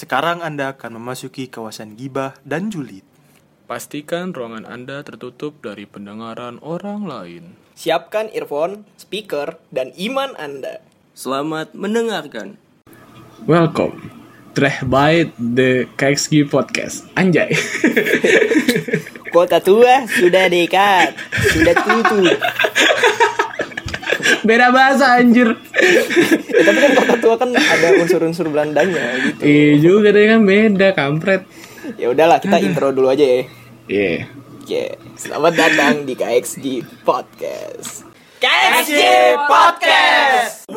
Sekarang Anda akan memasuki kawasan gibah dan julid. Pastikan ruangan Anda tertutup dari pendengaran orang lain. Siapkan earphone, speaker, dan iman Anda. Selamat mendengarkan. Welcome. Treh by the KXG Podcast. Anjay. Kota tua sudah dekat, sudah tutup. Beda bahasa anjir. Ya, tapi kan kota tua kan ada unsur-unsur Belandanya gitu. Iya juga deh kan beda kampret. Ya udahlah, kita intro dulu aja ya. Iya. Oke, selamat datang di KXD Podcast. KXD Podcast.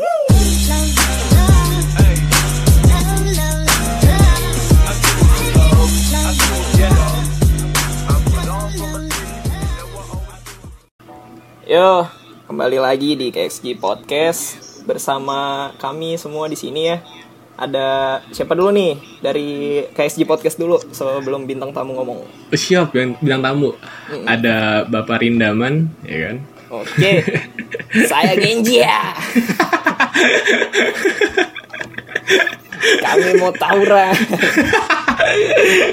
Yo, kembali lagi di KXG Podcast bersama kami semua di sini ya. Ada siapa dulu nih dari KXG Podcast dulu sebelum bintang tamu ngomong. Oh, Siap yang bilang tamu. Ada Bapak Rindaman, ya kan? Oke, saya Genji ya. Kami mau tawuran,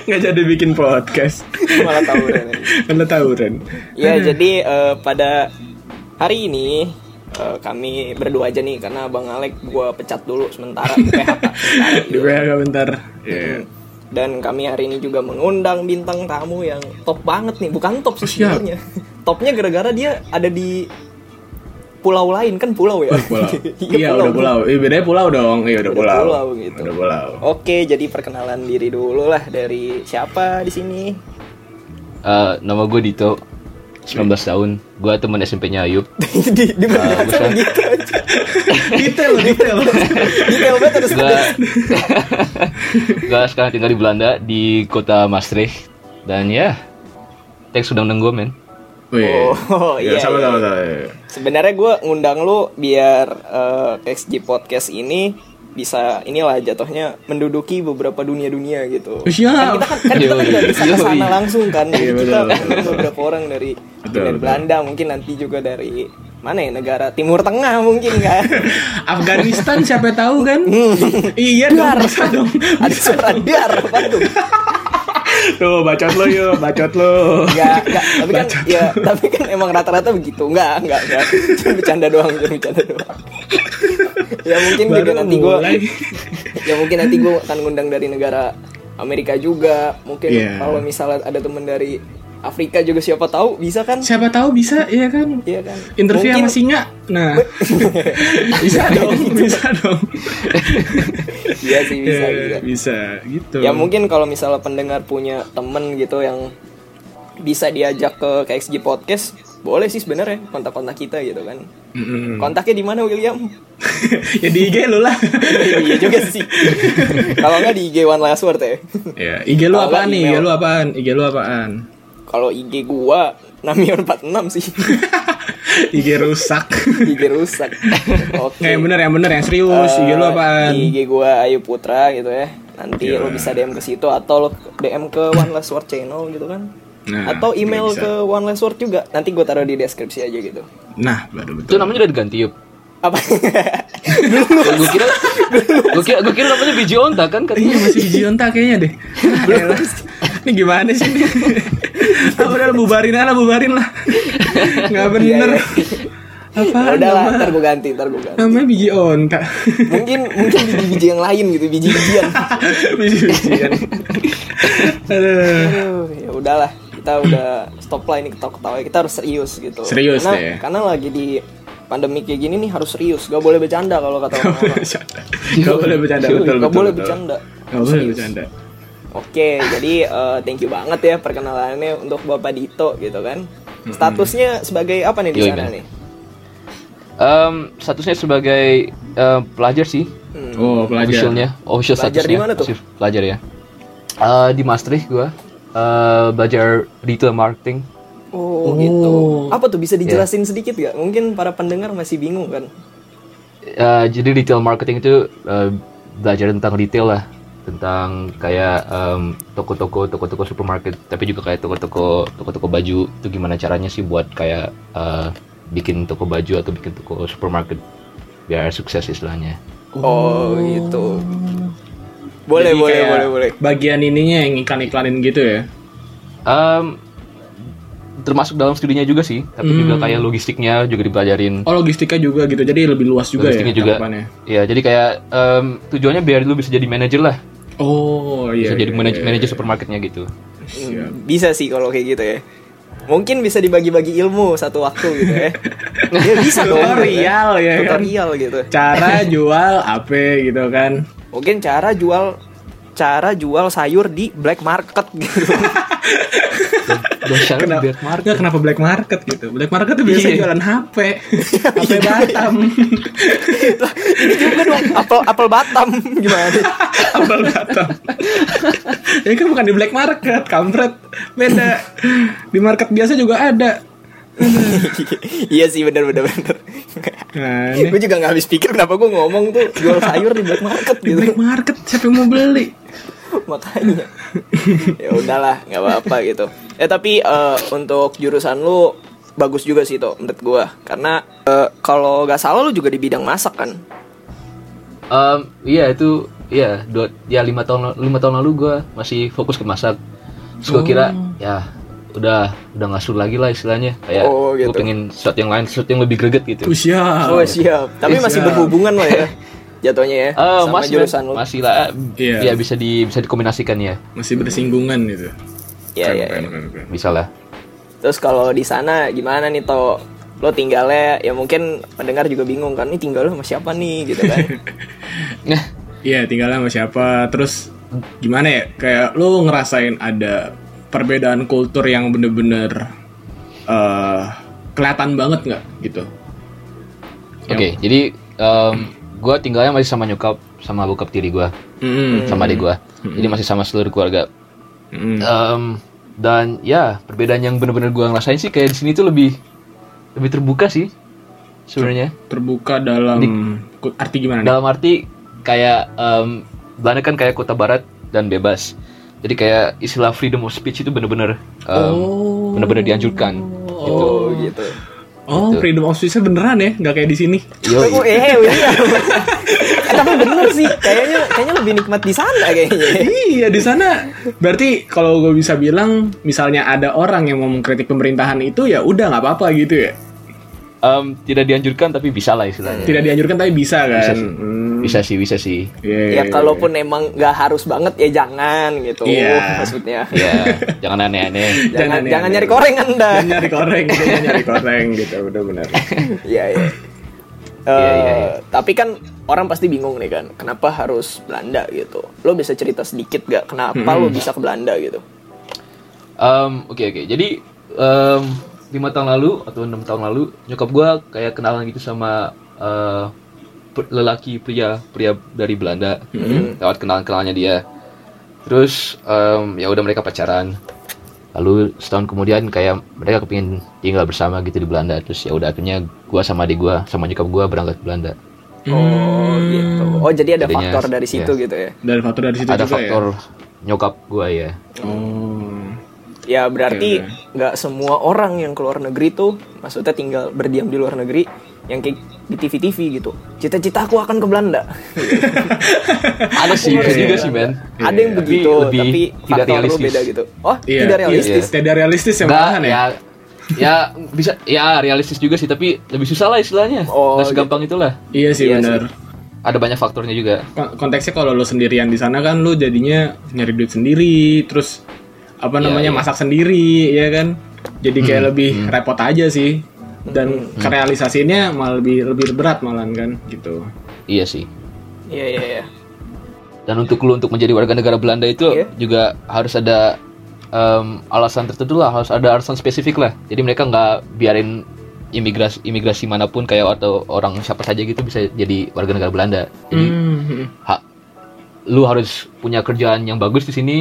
Nggak jadi bikin podcast. malah tawuran. Karena tawuran. Ya jadi eh, pada hari ini eh, kami berdua aja nih karena Bang Alek gua pecat dulu sementara di PHK. sementara Di gitu. PHK bentar. Iya. Dan kami hari ini juga mengundang bintang tamu yang top banget nih, bukan top sih Siap. sebenarnya. Topnya gara-gara dia ada di pulau lain kan pulau ya. Oh, pulau. Iya, udah pulau. Iya, bedanya pulau dong. Iya, udah, Udah pulau. pulau gitu. Udah pulau. Oke, jadi perkenalan diri dulu lah dari siapa di sini. Eh, nama gue Dito 19 tahun Gue temen SMP-nya Ayub di di Ah, sama bukan. gitu aja. detail, detail. Detail banget harus Gue Gue sekarang tinggal di Belanda Di kota Maastricht Dan ya Thanks sudah undang gue men Wih. Oh, Ya, iya, iya. sama-sama. sama, iya. Sebenarnya gue ngundang lu biar eh, XG podcast ini bisa inilah jatuhnya menduduki beberapa dunia-dunia gitu. Oh, siap. Kan kita kan, kan kita kan Yoi. nggak bisa ke sana Yoi. langsung kan. Iya, kita betul, betul, ngundang beberapa orang dari Betul, dari betul. Belanda mungkin nanti juga dari mana ya negara Timur Tengah mungkin kan. Afghanistan siapa tahu kan? Hmm. iya dong, bisa dong. Ada suara dar apa tuh? Tuh, bacot lo yuk, bacot lo. Enggak, enggak. Tapi kan ya, tapi kan emang rata-rata begitu. Enggak, enggak, enggak. Cuma bercanda doang, cuma bercanda doang. ya mungkin Baru juga nanti gue mulai. ya mungkin nanti gue akan ngundang dari negara Amerika juga mungkin Iya. kalau misalnya ada temen dari Afrika juga siapa tahu bisa kan Siapa tahu bisa, iya kan? iya kan Interview sama mungkin, singa. Nah. bisa dong, bisa dong. iya sih bisa, Iya, bisa. bisa gitu. ya mungkin kalau misalnya pendengar punya temen gitu yang bisa diajak ke KXG podcast boleh sih sebenarnya kontak-kontak kita gitu kan Mm-mm. kontaknya di mana William ya di IG lu lah. iya juga sih. Kalau nggak di IG One Last Word ya. ya, IG lu Kalau apaan nggak nih? IG email. lu apaan? IG lu apaan? Kalau IG gua Namion 46 sih. IG rusak. IG rusak. Oke. Kayak yang Eh, bener, yang bener, yang serius. Eh, IG lu apaan? Di IG gua Ayu Putra gitu ya. Nanti Iya. lo bisa DM ke situ atau lo DM ke One Last Word channel gitu kan. Nah, atau juga email bisa. ke One Last Word juga. Nanti gua taruh di deskripsi aja gitu. Nah, baru betul. Itu namanya udah diganti Yub Apa? Gue kira Gue kira, gua kira namanya biji onta kan Iya katanya masih biji onta kayaknya deh. Ah, elah. Ini gimana sih ini? Ah, udah lah, bubarin aja lah, bubarin lah. Nggak bener. Iya, Apa? Udah lah, nama- ntar gua ganti, ntar gua ganti. Namanya biji onta. Mungkin mungkin biji-biji yang lain gitu, biji-bijian. Biji-bijian. Aduh. Aduh, ya udahlah kita udah stop lah ini ketawa-ketawa kita harus serius gitu Serius karena, deh. karena lagi di pandemi kayak gini nih harus serius gak boleh bercanda kalau kata orang Gak boleh bercanda, betul, betul, gak boleh betul. bercanda Gak boleh bercanda. oke jadi eh, thank you banget ya perkenalannya untuk bapak Dito gitu kan statusnya sebagai apa nih di Yoi, sana man. nih Em, Statusnya sebagai eh, pelajar sih Oh, pelajar. Officialnya Official Pelajar di statusnya mana tuh? Sif, Pelajar ya Eh, Di Maastricht gue Eh, Belajar retail marketing Oh, gitu. Apa tuh bisa Ya. dijelasin sedikit gak? Mungkin para pendengar masih bingung kan. Eh, jadi retail marketing itu eh, belajar tentang retail lah tentang kayak em, toko-toko toko-toko supermarket tapi juga kayak toko-toko toko-toko baju itu gimana caranya sih buat kayak eh, bikin toko baju atau bikin toko supermarket biar sukses istilahnya Oh, gitu. Oh. Boleh, Jadi boleh, kayak boleh, boleh. Bagian ininya yang iklan-iklanin gitu ya. Em, termasuk dalam studinya juga sih, tapi juga kayak logistiknya juga dipelajarin. Hmm. Oh logistiknya juga gitu, jadi lebih luas juga logistiknya ya juga. cakupannya. Iya, jadi kayak em, tujuannya biar lu bisa jadi manajer lah, Oh iya. bisa jadi iya, manaj- iya. manajer supermarketnya gitu. Siap. Bisa sih kalau kayak gitu ya. Mungkin bisa dibagi-bagi ilmu satu waktu gitu ya. ya bisa dong. Tutorial ya kan? Tutorial gitu. Cara jual apa gitu kan? Mungkin cara jual cara jual sayur di black market gitu. Dahsyat Kenapa, black market. Nggak, kenapa black market gitu? Black market tuh biasa Iya. jualan HP, HP Batam, Ini juga dong apel apel Batam gimana? Apel Batam. Ini kan bukan di black market, kampret. Beda. Di market biasa juga ada. iya sih benar benar benar. Nah, ini gue juga nggak habis pikir kenapa gue ngomong tuh jual sayur di black market di gitu. black market siapa yang mau beli? makanya ya udahlah nggak apa-apa gitu ya tapi eh, untuk jurusan lu bagus juga sih tuh menurut gua karena eh, kalau nggak salah lu juga di bidang masak kan Em, iya itu iya dua ya lima tahun lima tahun lalu gue masih fokus ke masak. Terus gue kira ya udah udah ngasur lagi lah istilahnya kayak Oh, gitu. gue pengen sesuatu yang lain sesuatu yang lebih greget gitu. Usia. oh siap tapi Iya. masih berhubungan lah ya jatuhnya ya Eh, sama masih jurusan lu masih lah Iya. ya bisa di bisa dikombinasikan ya Masih bersinggungan gitu. ya ya, ya. bisa lah. terus kalau di sana gimana nih to lo tinggalnya ya mungkin pendengar juga bingung kan ini tinggal lo sama siapa nih gitu kan Nah, Iya, tinggal sama siapa. Terus gimana ya? Kayak lu ngerasain ada perbedaan kultur yang bener-bener eh kelihatan banget nggak gitu? Oke, jadi gue tinggalnya masih sama nyokap, sama bokap tiri gue, Hmm. Mm-mm. sama adik gue. Jadi masih sama seluruh keluarga. Mm-mm. Em, dan ya perbedaan yang bener-bener gue ngerasain sih kayak di sini tuh lebih lebih terbuka sih sebenarnya. Terbuka dalam ku- arti gimana? nih? Dalam arti kayak em, Belanda kan kayak kota barat dan bebas. Jadi kayak istilah freedom of speech itu bener-bener em, bener-bener dianjurkan. Gitu. oh gitu Oh, freedom of speech beneran ya? Nggak kayak di sini? Yoi. Oh, eh, iya. Eh, tapi bener sih, kayaknya kayaknya lebih nikmat di sana kayaknya. Iya di sana berarti kalau gue bisa bilang misalnya ada orang yang mau mengkritik pemerintahan itu ya udah nggak apa-apa gitu ya Em, tidak dianjurkan tapi bisa lah istilahnya. tidak dianjurkan tapi bisa kan Iya. Bisa sih. Bisa sih, bisa sih. Iya, iya, ya kalaupun emang nggak harus banget ya jangan gitu Iya. maksudnya Ya, jangan aneh-aneh. Jangan, jangan jangan, ya, ya. nyari koreng anda Jangan nyari koreng, jangan nyari koreng gitu, udah benar. Iya iya Iya, iya, Eh, tapi kan orang pasti bingung nih kan kenapa harus Belanda gitu lo bisa cerita sedikit gak kenapa lo bisa ke Belanda gitu Em, oke oke. Jadi em, lima tahun lalu atau enam tahun lalu nyokap gua kayak kenalan gitu sama eh, per- lelaki pria pria dari Belanda Hmm. lewat kenalan kenalannya dia. Terus em, ya udah mereka pacaran. Lalu setahun kemudian kayak mereka kepingin tinggal bersama gitu di Belanda. Terus ya udah akhirnya gua sama adik gua sama nyokap gua berangkat ke Belanda. oh gitu oh jadi ada Jadinya, faktor dari situ gitu ya Dari faktor dari situ Ada juga faktor nyokap gua ya. ya. Oh. ya berarti Oke, nggak semua orang yang keluar negeri tuh maksudnya tinggal berdiam di luar negeri yang kayak di TV-TV gitu cita-cita aku akan ke Belanda Ada sih Iya, bisa iya. juga ya. sih men. ada yang Tapi begitu lebih tapi tidak faktor lu realistis. beda gitu oh Iya. tidak realistis Iya. Tidak realistis ya Nggak, malahan ya. ya. Ya bisa ya realistis juga sih tapi lebih susah lah istilahnya. Oh, Nggak segampang itulah. Iya sih Iya benar. Ada banyak faktornya juga. Kon- Konteksnya kalau lo sendirian di sana kan lo jadinya nyari duit sendiri, terus apa Iya, namanya iya. Hmm, masak sendiri, ya kan? Jadi kayak lebih repot aja sih. Dan kerealisasinya malah lebih lebih berat malahan kan gitu. Iya sih. iya iya iya Dan untuk lu untuk menjadi warga negara Belanda itu Iya. juga harus ada em, alasan tertentu lah, harus ada alasan spesifik lah. Jadi mereka nggak biarin imigrasi imigrasi manapun kayak atau orang siapa saja gitu bisa jadi warga negara Belanda. Jadi Hmm. ha- lu harus punya kerjaan yang bagus di sini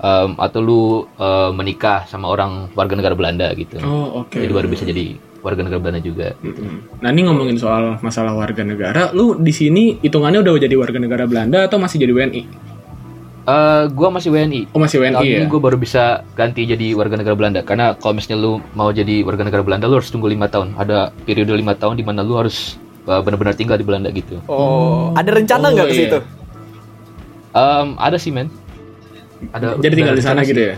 em, atau lu eh, menikah sama orang warga negara Belanda gitu. Oh, oke. Jadi baru bisa jadi warga negara Belanda juga. Gitu. Nah ini ngomongin soal masalah warga negara, lu di sini hitungannya udah jadi warga negara Belanda atau masih jadi WNI? Eh, gua masih WNI. Oh masih WNI Tahun ya? ini gue baru bisa ganti jadi warga negara Belanda karena kalau misalnya lu mau jadi warga negara Belanda lu harus tunggu lima tahun. Ada periode lima tahun di mana lu harus eh, benar-benar tinggal di Belanda gitu. oh ada rencana nggak Oh, ke iya. situ Em, ada sih men. Ada. Jadi tinggal di sana gitu ya.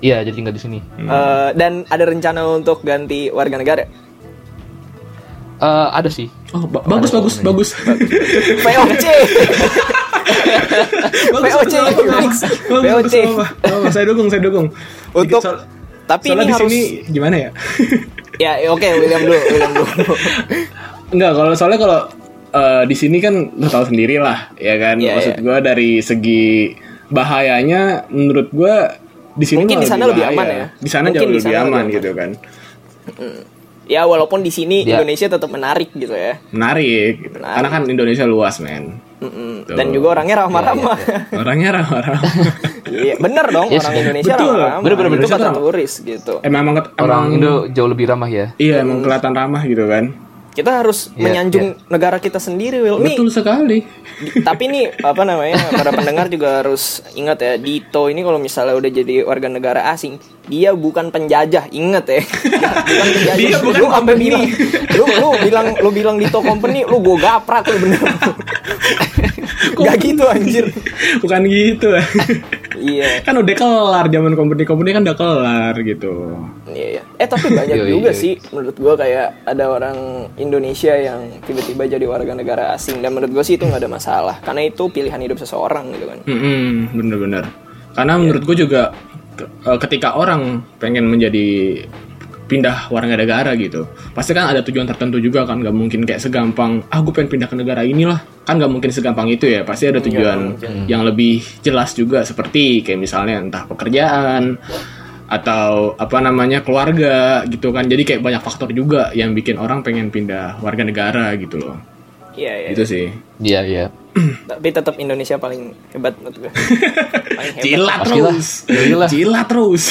Iya, jadi tinggal di sini. Hmm. Eh, dan ada rencana untuk ganti warga negara. Eh, ada sih. Oh, ba- bagus bagus bagus. VOC. VOC. VOC. Bagus, apa-apa. Apa-apa, Saya dukung, saya dukung. Gitu, Untuk Soal- tapi soalnya ini di harus sini gimana ya? ya ya, oke William dulu, William dulu. Enggak, kalau soalnya kalau eh, di sini kan lo tahu sendiri lah, ya kan. Iya, Maksud iya. gua dari segi bahayanya, menurut gua di sini Mungkin malah di sana lebih bahaya. aman ya? Di sana Mungkin jauh di lebih sana aman, lebih aman. gitu kan. ya walaupun di sini Ya. Indonesia tetap menarik gitu ya. Menarik, gitu. Menarik. karena kan Indonesia luas men. Mm-mm. Betul. Ya, Dan juga orangnya ramah-ramah. Orangnya ramah-ramah. Iya, bener dong Yes. orang Indonesia Betul. ramah-ramah. Bener, bener, itu Indonesia kata ramah. turis gitu. emang emang emang- Orang Indo jauh lebih ramah ya. Iya, emang kelihatan ramah gitu kan. Kita harus Iya, menyanjung negara kita sendiri, Will. Nih, Betul sekali. tapi nih apa namanya para pendengar juga harus ingat ya Dito ini kalau misalnya udah jadi warga negara asing dia bukan penjajah ingat ya bukan penjajah Dia bukan lu sampai bilang lu lu bilang lu bilang Dito company lu gue gaprak lu bener gak gitu anjir Bukan gitu. iya kan udah kelar zaman company-company kan udah kelar gitu. iya iya. eh tapi banyak Yoi, juga yoi. sih menurut gue kayak ada orang Indonesia yang tiba-tiba jadi warga negara asing dan menurut gue sih itu nggak ada masalah karena itu pilihan hidup seseorang gitu kan Mm-mm, bener-bener. Karena Iya. menurut gue juga ke- eh, ketika orang pengen menjadi pindah warga negara gitu, pasti kan ada tujuan tertentu juga kan, nggak mungkin kayak segampang, ah gue pengen pindah ke negara inilah, kan nggak mungkin segampang itu ya, pasti Iya, ada tujuan yang lebih jelas juga, seperti kayak misalnya entah pekerjaan atau apa namanya keluarga gitu kan, jadi kayak banyak faktor juga yang bikin orang pengen pindah warga negara gitu loh, iya iya itu sih. Iya, iya. tapi tetap Indonesia paling hebat menurut gue paling hebat Iya, Jilat Pastilah. terus, Yailah. jilat terus.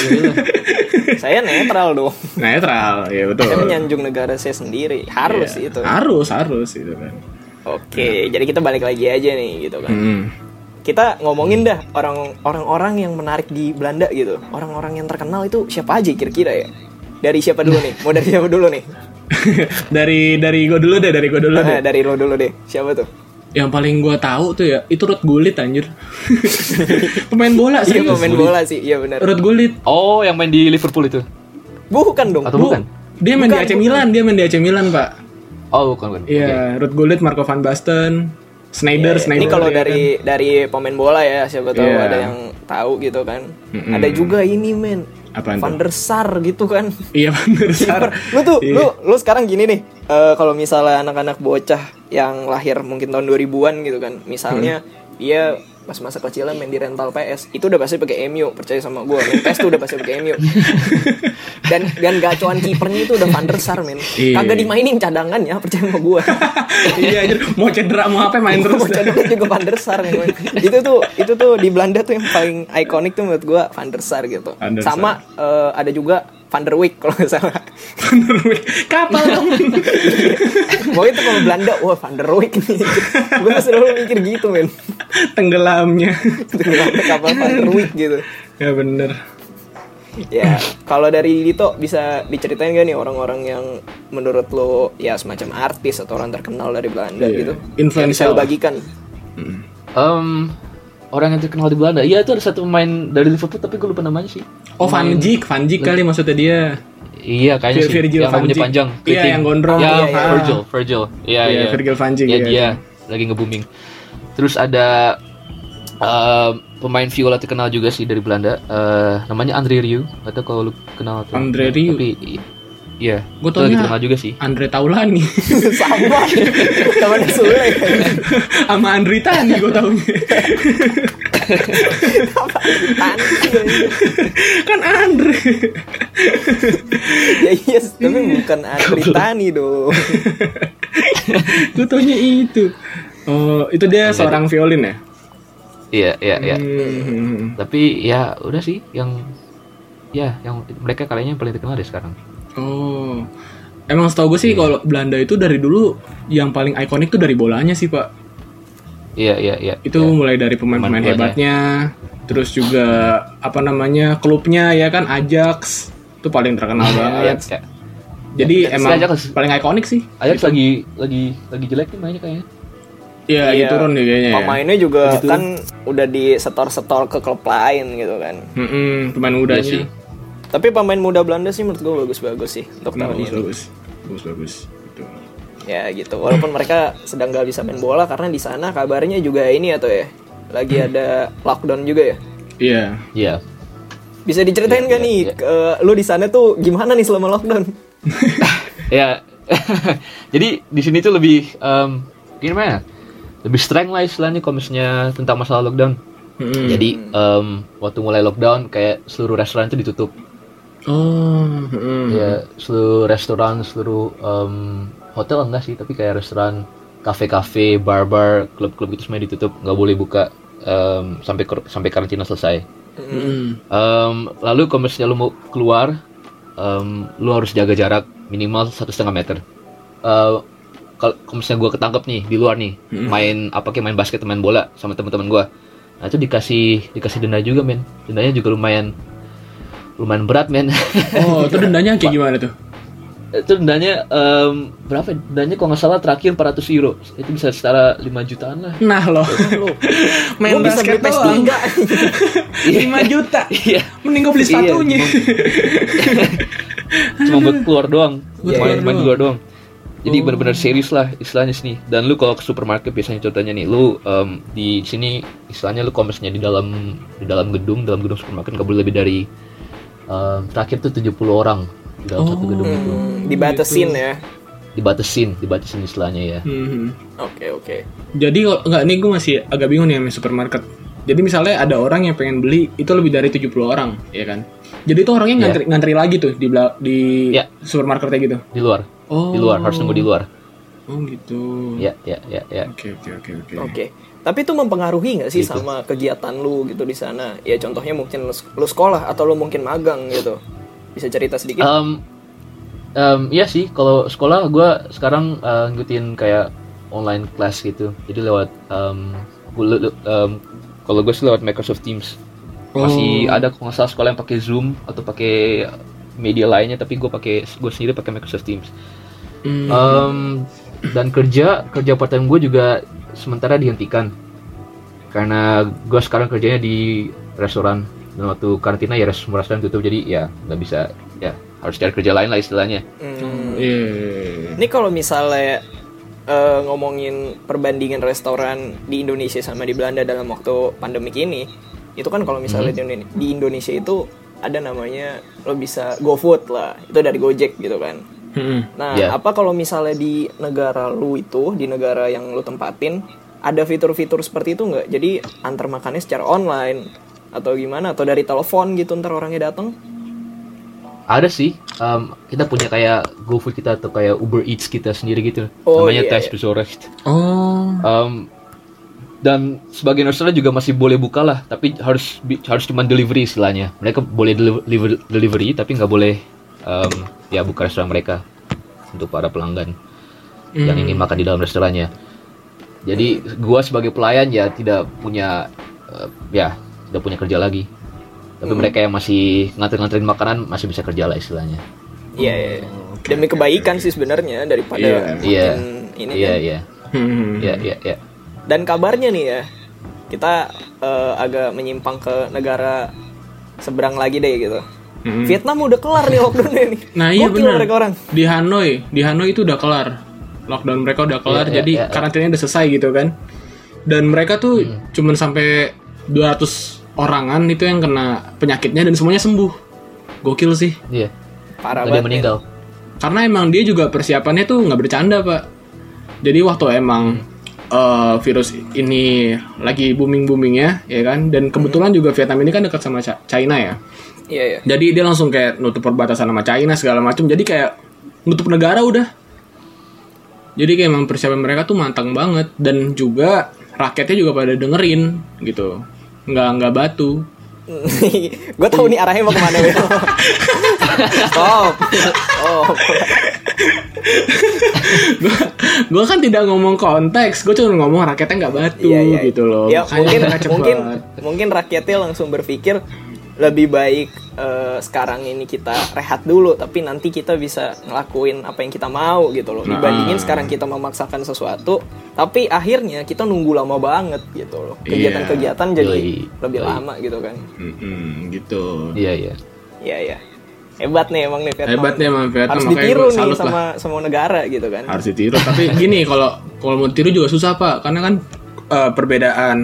saya netral dong netral ya betul saya menyanjung negara saya sendiri harus Iya. itu harus harus itu kan oke jadi kita balik lagi aja nih gitu kan Mm. kita ngomongin dah orang orang-orang yang menarik di Belanda gitu orang-orang yang terkenal itu siapa aja kira-kira ya dari siapa dulu nih mau dari siapa dulu nih dari dari gue dulu deh dari gue dulu Ah, deh dari lo dulu deh siapa tuh yang paling gue tahu tuh ya itu Ruth Gullit anjir pemain bola iya serius pemain bola sih iya benar Ruth Gullit Oh, yang main di Liverpool itu. bukan dong Atau Bu, bukan? dia main Bukan, di AC bukan. Milan dia main di AC Milan pak Oh, bukan, bukan. iya Ruth Gullit Marco van Basten Schneider Schneider Iya, ini kalau ya dari dari pemain bola ya siapa tahu Iya. ada yang tahu gitu kan ada juga ini men Apaan Van tuh? der Sar gitu kan kan? iya Van der Sar lu tuh Iya. lu lu sekarang gini nih eh, kalau misalnya anak-anak bocah yang lahir mungkin tahun 2000-an gitu kan misalnya Hmm. dia pas masa kecilnya main di rental PS itu udah pasti pakai MU percaya sama gue main PS tuh udah pasti pakai MU dan dan gacoan kipernya itu udah Van der Sar men Iya. kagak dimainin cadangannya percaya sama gue iya anjir mau cedera mau apa main terus Iya, Bocah dulu juga Van der Sar nih, men. Itu tuh itu tuh di Belanda tuh yang paling ikonik tuh menurut gua Van der Sar gitu. Van der Sama eh, ada juga Van der Wijk kalau nggak salah. Van der Wijk. kapal dong Mau itu kalau Belanda, wah Van der Wijk nih. gua selalu mikir gitu, men. tenggelamnya Tenggelamnya kapal Van der Wijk gitu. ya bener Ya, kalau dari Dito bisa diceritain gak nih orang-orang yang menurut lo ya semacam artis atau orang terkenal dari Belanda Iya. gitu? Influencer Yang bisa lo lah. bagikan. Em, orang yang terkenal di Belanda. Iya, itu ada satu pemain dari Liverpool tapi gue lupa namanya sih. Oh Van Dijk, Van Dijk kali maksudnya dia. Iya, kayaknya Vir- sih. Virgil yang van rambutnya Dijk. panjang, Iya, keriting. yang gondrong. Ya, Iya, iya. Virgil, Virgil. Iya, Iya, iya. Virgil van Dijk, Iya, iya. dia lagi nge-booming. Terus ada eh, pemain viola terkenal juga sih dari Belanda. Eh, namanya Andre Rieu, atau kalau lu kenal tuh. Andre Rieu? Tapi i- iya, Gua itu lagi taunya- terkenal juga sih. Andre Taulani Sama. Teman Sule. sama Andri Tani gue taunya. Tante. kan Andre. ya yes, tapi bukan Andri Tani dong. gue taunya itu. Oh, itu dia seorang violin ya? Iya, iya, iya. Hmm. Tapi ya udah sih yang ya yang mereka kayaknya yang paling terkenal deh sekarang. Oh. Emang setahu gue sih Hmm. kalau Belanda itu dari dulu yang paling ikonik tuh dari bolanya sih, Pak. Iya, iya, iya. Itu mulai dari pemain-pemain Pemain bolanya. hebatnya, terus juga apa namanya? klubnya ya kan Ajax. Itu paling terkenal Iya, banget. iya. Jadi Ajax- emang Ajax. paling ikonik sih. Ajax lagi lagi lagi jelek nih mainnya kayaknya. Iya, lagi turun nih kayaknya. ya. Pemainnya juga kan udah disetor-setor ke klub lain gitu kan. Mm-mm, pemain Iya mudanya. sih. Tapi pemain muda Belanda sih menurut gue bagus-bagus sih untuk tahun bagus, ini. bagus, bagus, bagus. Gitu. Ya gitu. Walaupun mereka sedang gak bisa main bola karena di sana kabarnya juga ini atau ya lagi ada lockdown juga ya. Iya. Iya. Bisa diceritain Iya, gak iya, nih iya. eh, lu di sana tuh gimana nih selama lockdown? ya jadi di sini tuh lebih em, gimana ya? lebih strength lah istilahnya kalau misalnya tentang masalah lockdown Mm-mm. jadi em, waktu mulai lockdown kayak seluruh restoran itu ditutup Oh. mm-mm. ya seluruh restoran seluruh em, hotel enggak sih tapi kayak restoran kafe-kafe bar-bar klub-klub itu semuanya ditutup nggak boleh buka em, sampai kar- sampai karantina selesai Mm-mm. Em, lalu kalau misalnya lu mau keluar, em, lu harus jaga jarak minimal satu setengah meter. Eh, Kalau kalau misalnya gue ketangkep nih di luar nih, main apa kayak main basket, main bola sama teman-teman gue, nah itu dikasih dikasih denda juga men, dendanya juga lumayan lumayan berat men. Oh, itu dendanya kayak gimana tuh? itu dendanya em, berapa? ya? Dendanya kalau nggak salah terakhir 400 euro, itu bisa setara 5 jutaan lah. Nah loh, main Gua bisa basket beli PS3. doang 5 juta Iya. Mending gue beli Iya, sepatunya cuma buat keluar doang Buat keluar cuma main doang. Oh. keluar doang jadi benar-benar serius lah istilahnya sini dan lu kalau ke supermarket biasanya contohnya nih lu em, di sini istilahnya lu kalau misalnya di dalam di dalam gedung dalam gedung supermarket nggak boleh lebih dari em, terakhir tuh 70 orang di dalam satu gedung itu Oh. Hmm, dibatasin ya. dibatesin dibatesin istilahnya ya Mhm. Oke oke. Jadi kalau- nggak nih gue masih agak bingung nih sama supermarket Jadi misalnya ada orang yang pengen beli itu lebih dari 70 orang ya kan Jadi itu orangnya ngantri, ngantri lagi tuh di, bela- di Iya. supermarketnya gitu di luar Oh. di luar harus nunggu di luar Oh gitu ya ya ya ya Oke oke oke oke Oke. Tapi itu mempengaruhi nggak sih sama kegiatan lu gitu di sana? Ya contohnya mungkin lu, lu sekolah atau lu mungkin magang gitu. Bisa cerita sedikit? Em, em, iya sih, kalau sekolah gue sekarang eh, ngikutin kayak online class gitu. Jadi lewat, em, gua le- le- em, kalau gue sih lewat Microsoft Teams. Masih ada kalau nggak salah sekolah yang pakai Zoom atau pakai media lainnya, tapi gue pakai gue sendiri pakai Microsoft Teams. Hmm. Em, dan kerja kerja part time gue juga sementara dihentikan karena gue sekarang kerjanya di restoran dan waktu karantina ya res- semua restoran tutup jadi ya nggak bisa ya harus cari kerja lain lah istilahnya Hmm. Iya. Ini kalau misalnya eh, ngomongin perbandingan restoran di Indonesia sama di Belanda dalam waktu pandemik ini, itu kan kalau misalnya di Indone- di Indonesia itu ada namanya lo bisa GoFood lah, itu dari Gojek gitu kan. Mhm. Nah, Iya. apa kalau misalnya di negara lu itu, di negara yang lu tempatin, ada fitur-fitur seperti itu nggak? Jadi antar makannya secara online atau gimana? Atau dari telepon gitu ntar orangnya datang? ada sih em, kita punya kayak GoFood kita atau kayak Uber Eats kita sendiri gitu Oh, namanya iya, Thais iya. Bezorgd. Oh Em, dan sebagian restoran juga masih boleh buka lah tapi harus bi- harus cuma delivery istilahnya mereka boleh deli- deliver- delivery tapi nggak boleh em, ya buka restoran mereka untuk para pelanggan yang ingin makan di dalam restorannya jadi gua sebagai pelayan ya tidak punya eh, ya tidak punya kerja lagi tapi mereka yang masih nganterin-nganterin makanan masih bisa kerja lah istilahnya Iya, iya, iya. demi kebaikan sih sebenarnya daripada Iya. makin Iya. ini Iya, kan. iya. Mhm. Iya, iya, iya. Dan kabarnya nih ya, kita eh, agak menyimpang ke negara seberang lagi deh gitu. Vietnam udah kelar nih lockdownnya nih. Nah iya Gokil benar. mereka orang. Di Hanoi, di Hanoi itu udah kelar. Lockdown mereka udah kelar, Iya, iya, jadi iya, iya. karantinanya udah selesai gitu kan. Dan mereka tuh cuman sampai 200 orangan itu yang kena penyakitnya dan semuanya sembuh. Gokil sih. Iya. Parah Ada banget. yang meninggal. Karena emang dia juga persiapannya tuh nggak bercanda pak. Jadi waktu emang eh, virus ini lagi booming boomingnya ya kan. Dan kebetulan juga Vietnam ini kan dekat sama Ca- China ya. Iya, iya. Jadi dia langsung kayak nutup perbatasan sama China segala macam. Jadi kayak nutup negara udah. Jadi kayak emang persiapan mereka tuh matang banget dan juga rakyatnya juga pada dengerin gitu. Nggak nggak batu. gue tahu nih arahnya mau kemana Wil. stop Oh, stop Gue kan tidak ngomong konteks, gue cuma ngomong rakyatnya nggak batu Iya, iya. gitu loh. ya Makanya mungkin mereka cepet. mungkin mungkin rakyatnya langsung berpikir lebih baik eh, sekarang ini kita rehat dulu tapi nanti kita bisa ngelakuin apa yang kita mau gitu loh dibandingin Nah. sekarang kita memaksakan sesuatu tapi akhirnya kita nunggu lama banget gitu loh Iya. kegiatan-kegiatan jadi Yoi. lebih Yoi. lama gitu kan Mm-mm, gitu. Iya iya. Iya ya hebat nih emang nih Vietnam Hebat nih emang Vietnam, harus makanya ditiru gue nih salut sama lah. semua negara gitu kan Harus ditiru. Tapi gini kalau kalau mau tiru juga susah pak, karena kan eh, perbedaan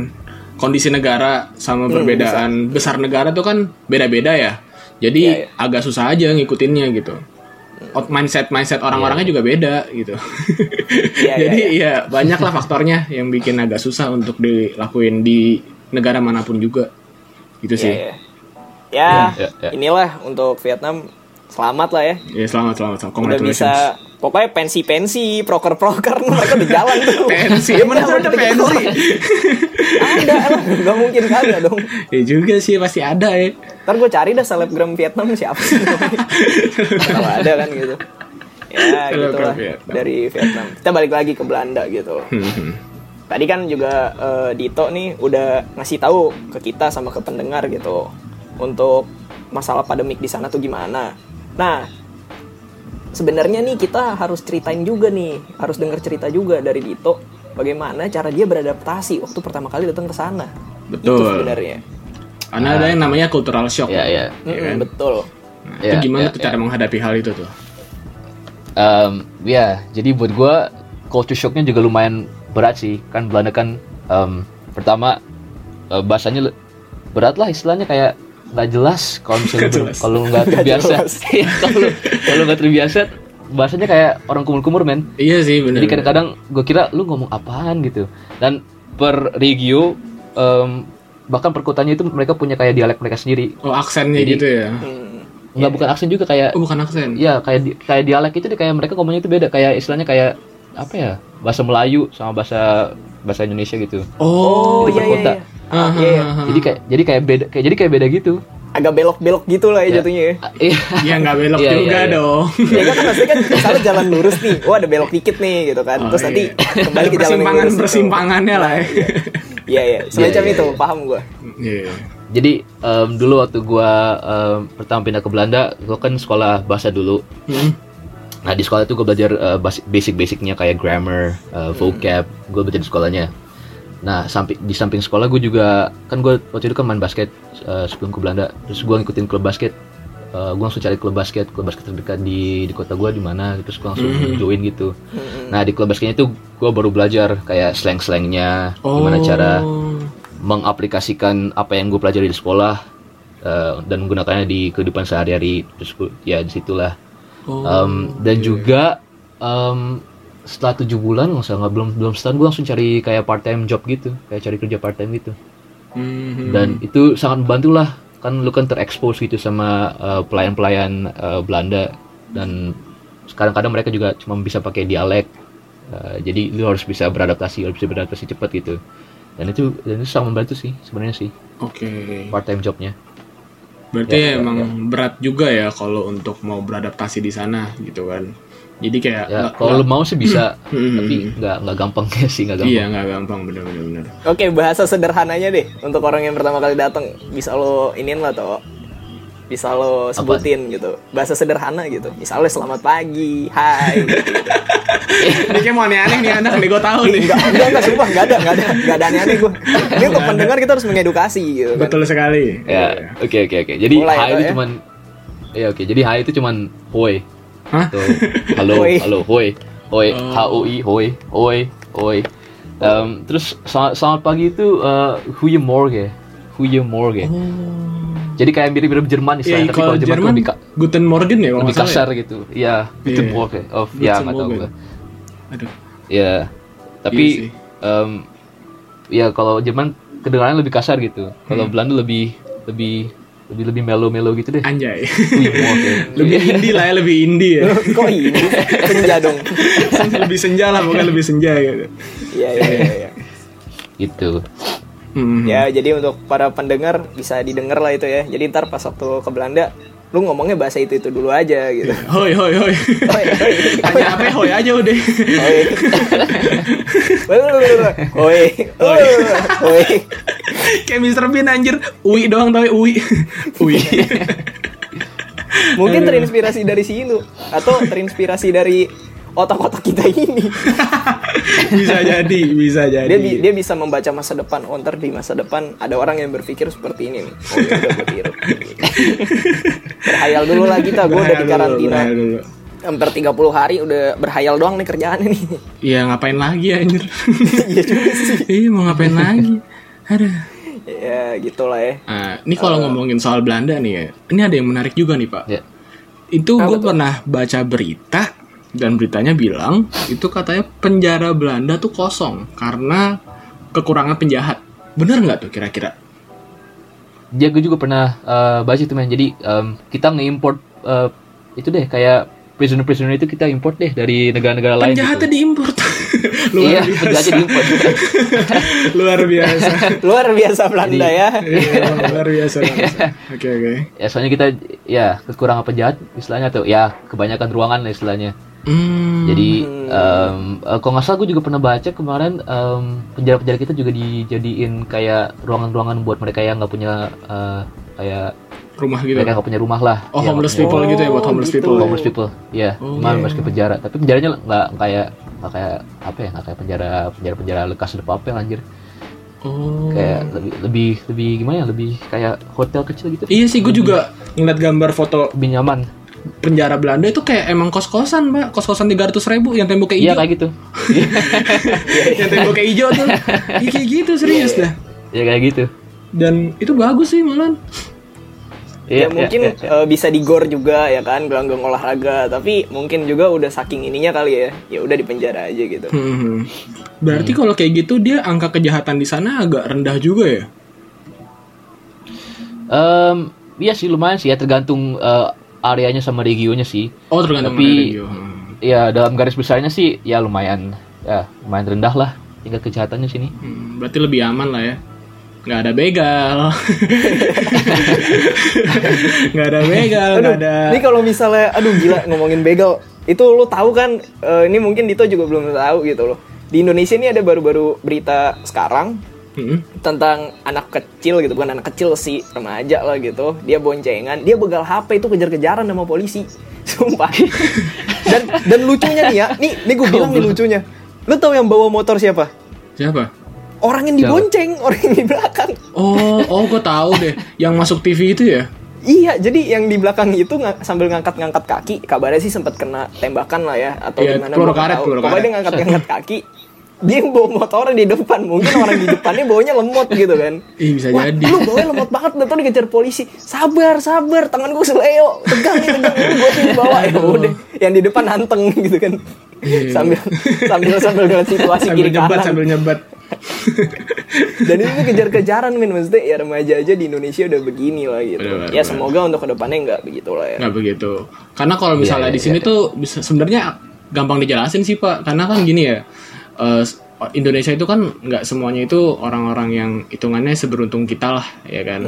kondisi negara Hmm, sama perbedaan besar negara tuh kan beda-beda ya. Jadi Iya, Hmm. iya. agak susah aja ngikutinnya gitu. Out- Mindset mindset orang-orangnya juga beda gitu. Iya, iya, Jadi ya banyaklah faktornya yang bikin agak susah untuk dilakuin di negara manapun juga. Gitu sih. Iya, iya. ya Ya, ya, ya. inilah untuk Vietnam selamat lah ya Ya selamat selamat selamat. udah Congratulations. bisa pokoknya pensi-pensi proker-proker mereka di jalan tuh pensi emang ada pensi ada lah nggak mungkin kagak dong ya juga sih pasti ada ya ntar gue cari dah selebgram Vietnam siapa sih kalau ada kan gitu ya Selebgram gitu lah Vietnam. dari Vietnam kita balik lagi ke Belanda gitu loh tadi kan juga eh, Dito nih udah ngasih tahu ke kita sama ke pendengar gitu untuk masalah pandemik di sana tuh gimana nah sebenarnya nih kita harus ceritain juga nih harus dengar cerita juga dari Dito bagaimana cara dia beradaptasi waktu pertama kali datang ke sana itu Betul. sebenarnya karena Ah. ada yang namanya cultural shock Iya iya. Iya Mm-mm, kan? betul Nah, Iya, itu gimana iya, tuh cara menghadapi hal itu tuh Em, ya, jadi buat gua culture shocknya juga lumayan berat sih. Kan Belanda kan em, pertama eh, bahasanya le- berat lah istilahnya kayak nggak jelas kalau misalnya ber- jelas. kalau nggak terbiasa. Iya, kalau kalau nggak terbiasa bahasanya kayak orang kumur-kumur men. iya sih benar Jadi kadang-kadang gue kira lu ngomong apaan gitu. Dan per regio em, bahkan per kotanya itu mereka punya kayak dialek mereka sendiri. oh aksennya Jadi- gitu ya Hmm. Nggak bukan aksen juga kayak oh bukan aksen ya kayak di- kayak dialek itu deh, kayak mereka ngomongnya itu beda kayak istilahnya kayak apa ya bahasa Melayu sama bahasa bahasa Indonesia gitu oh Oh, iya Di iya perkota. iya. Ah, iya, iya. jadi kayak jadi kayak beda kayak jadi kayak beda gitu Agak belok-belok gitu lah ya Ya. jatuhnya ya. Ah, iya ya nggak belok Iya, iya, juga iya. dong Ya kan maksudnya kan misalnya jalan lurus nih. Oh ada belok dikit nih gitu kan. Oh, Terus nanti iya. kembali ke jalan yang persimpangan lurus. gitu. persimpangannya lah ya Iya iya. Semacam Iya, iya, itu iya. paham gua. Iya. jadi em, dulu waktu gua em, pertama pindah ke Belanda gua kan sekolah bahasa dulu Hmm. nah di sekolah itu gua belajar eh, bas- basic-basicnya kayak grammar eh, vocab gua belajar di sekolahnya nah sampai di samping sekolah gua juga kan gua waktu itu kan main basket eh, sebelum ke Belanda terus gua ngikutin klub basket Eh, gua langsung cari klub basket klub basket terdekat di di kota gua di mana terus gua langsung Mhm. join gitu Mm-mm. nah di klub basketnya itu gua baru belajar kayak slang-slangnya Oh. gimana cara mengaplikasikan apa yang gue pelajari di sekolah eh, dan menggunakannya di kehidupan sehari-hari terus gue- ya disitulah Oh, Em, um, dan juga em, setelah tujuh bulan nggak usah nggak belum belum setahun gue langsung cari kayak part time job gitu kayak cari kerja part time gitu Mhm. dan itu sangat membantu lah kan lu kan terekspos gitu sama eh, pelayan-pelayan eh, Belanda dan kadang-kadang mereka juga cuma bisa pakai dialek Eh, jadi lu harus bisa beradaptasi harus bisa beradaptasi cepat gitu dan itu dan itu sangat membantu sih sebenarnya sih oke part time jobnya Berarti Ya, ya, emang ya. berat juga ya kalau untuk mau beradaptasi di sana gitu kan. Jadi kayak ya nggak- kalau lu nggak- mau sih bisa Nah, Hmm. tapi nggak nggak gampang sih nggak gampang Iya nggak gampang bener-bener. bener. Oke bahasa sederhananya deh untuk orang yang pertama kali datang bisa lo inin lah toh bisa lo sebutin gitu bahasa sederhana gitu misalnya selamat pagi hai gitu. Ini kayak mau aneh-aneh nih anak nih gue tahu nih. enggak enggak enggak sumpah enggak ada enggak ada enggak ada aneh-aneh gue ini untuk ada. pendengar kita harus mengedukasi gitu kan Betul sekali. ya Iya. oke oke oke jadi Mulai, hai Pak, itu ya. cuman ya oke jadi hai itu cuman hoi Hah? atau halo Hoi. halo hoi hoi Oh. h o i hoi hoi hoi Em, terus selamat, selamat pagi itu uh, morgen morgen jadi kayak mirip-mirip Jerman Ya, istilahnya tapi kalau Jerman, lebih, ka- Guten Morgen ya kalau lebih nggak salah kasar ya? gitu ya Iya. guten morgen oh ya nggak tahu Morgen. gue Aduh. Ya, Iya sih. tapi em, ya kalau Jerman kedengarannya lebih kasar gitu. Hmm. Kalau Belanda lebih lebih lebih lebih melo-melo gitu deh. Anjay. Wih, mau apa ya? lebih indie lah ya, lebih indie ya. kok ini senja dong lebih senja lah bukan lebih senja gitu. iya iya iya iya. gitu. Hmm. ya jadi untuk para pendengar bisa didengar lah itu ya jadi ntar pas waktu ke Belanda lu ngomongnya bahasa itu itu dulu aja gitu Hoi hoi hoi. Hoi, hoi. Tanya apa ya, hoi aja udah. Oi. Oi. Oi. Oi. kayak Mr. Bean anjir. Ui doang tapi ui. ui. Mungkin terinspirasi dari si lu atau terinspirasi dari otak-otak kita ini. bisa jadi, bisa jadi. Dia bi- dia bisa membaca masa depan. Oh, ntar di masa depan ada orang yang berpikir seperti ini nih. Oh, ya udah gua tiru. Berhayal dulu lah kita, gue Nah, udah Berhayal di dulu, karantina. berhayal dulu. Hampir 30 hari udah berhayal doang nih kerjaan ini. Iya ngapain lagi anjir. Iya juga sih. Iya mau ngapain lagi. Aduh. ya, gitulah ya. Eh, Ah, ini kalau ngomongin soal Belanda nih ya, ini ada yang menarik juga nih Pak. Ya. Itu gue pernah baca berita dan beritanya bilang itu katanya penjara Belanda tuh kosong karena kekurangan penjahat. Bener nggak tuh kira-kira? Dia gue juga pernah eh, baca itu men. Jadi em, kita ngeimport eh, itu deh kayak prisoner-prisoner itu kita import deh dari negara-negara lain. Penjahatnya gitu. diimpor. luar Iya, biasa. penjahatnya diimport. luar biasa. Luar biasa Belanda ya. Iya, luar biasa. luar Iya. biasa. Oke oke. ya soalnya kita ya kekurangan penjahat istilahnya tuh ya kebanyakan ruangan lah istilahnya. Hmm, Jadi em, eh, kalau nggak salah gue juga pernah baca kemarin em, penjara-penjara kita juga dijadiin kayak ruangan-ruangan buat mereka yang nggak punya eh, kayak rumah gitu. mereka nggak punya rumah lah. Oh Ya, homeless nggak punya- people gitu ya buat Oh, homeless gitu. people. homeless people. Ya, Oh. cuma masuk ke penjara. Tapi penjaranya nggak kayak nggak kayak apa ya? Nggak kayak penjara penjara penjara lekas de papel anjir. Oh. Kayak lebih lebih lebih gimana ya? Lebih kayak hotel kecil gitu. Iya sih, gue juga ngeliat gambar foto Lebih nyaman. penjara Belanda itu kayak emang kos-kosan, Mbak. Kos-kosan 300 ribu yang temboknya Iya hijau. kayak gitu. yang temboknya hijau tuh. Iya kayak gitu, serius dah. Iya kayak gitu. Dan itu bagus sih malah. Iya ya mungkin iya, iya. eh, bisa digor juga ya kan gelanggang olahraga tapi mungkin juga udah saking ininya kali ya ya udah di penjara aja gitu Hmm. Berarti kalau kayak gitu dia angka kejahatan di sana agak rendah juga ya? Em, iya sih lumayan sih ya tergantung eh, areanya sama regionnya sih. Oh, tergantung Tapi- dari radio. Hmm. Ya dalam garis besarnya sih ya lumayan ya lumayan rendah lah tingkat kejahatannya sini. Hmm, berarti lebih aman lah ya. Nggak ada begal. Nggak ada begal, aduh nggak ada... ini kalau misalnya aduh gila ngomongin begal itu lu tahu kan eh, ini mungkin Dito juga belum tahu gitu loh di Indonesia ini ada baru-baru berita sekarang Hmm. tentang anak kecil gitu bukan anak kecil sih remaja lah gitu dia boncengan dia begal HP itu kejar-kejaran sama polisi sumpah dan dan lucunya nih ya nih nih gue bilang nih lucunya lu tahu yang bawa motor siapa Siapa? orang yang dibonceng, orang yang di belakang. Oh, oh gue tahu deh. Yang masuk TV itu ya? Iya, jadi yang di belakang itu nga- sambil ngangkat-ngangkat kaki, kabarnya sih sempat kena tembakan lah ya atau Iya, gimana peluru gua nggak karet, tahu. peluru Pokoknya dia karet. ngangkat-ngangkat kaki. Dia yang bawa motornya di depan, mungkin orang di depannya bawanya lemot gitu kan. Ih, bisa Wah, jadi. lu bawanya lemot banget, nonton dikejar polisi. Sabar, sabar, tangan gue seleo, tegang nih, tegang ini gue sini bawa ya udah. Yang di depan nanteng gitu kan. sambil sambil sambil ngeliat situasi Iya, Sambil kiri nyebat, kanan. sambil nyebat. Dan ini tuh kejar-kejaran min Maksudnya ya remaja aja di Indonesia udah begini lah gitu Benar, benar. Ya semoga untuk kedepannya nggak begitu lah ya nggak begitu karena kalau misalnya Iya, di sini tuh bisa sebenarnya gampang dijelasin sih pak karena kan gini ya eh, Indonesia itu kan nggak semuanya itu orang-orang yang hitungannya seberuntung kita lah ya kan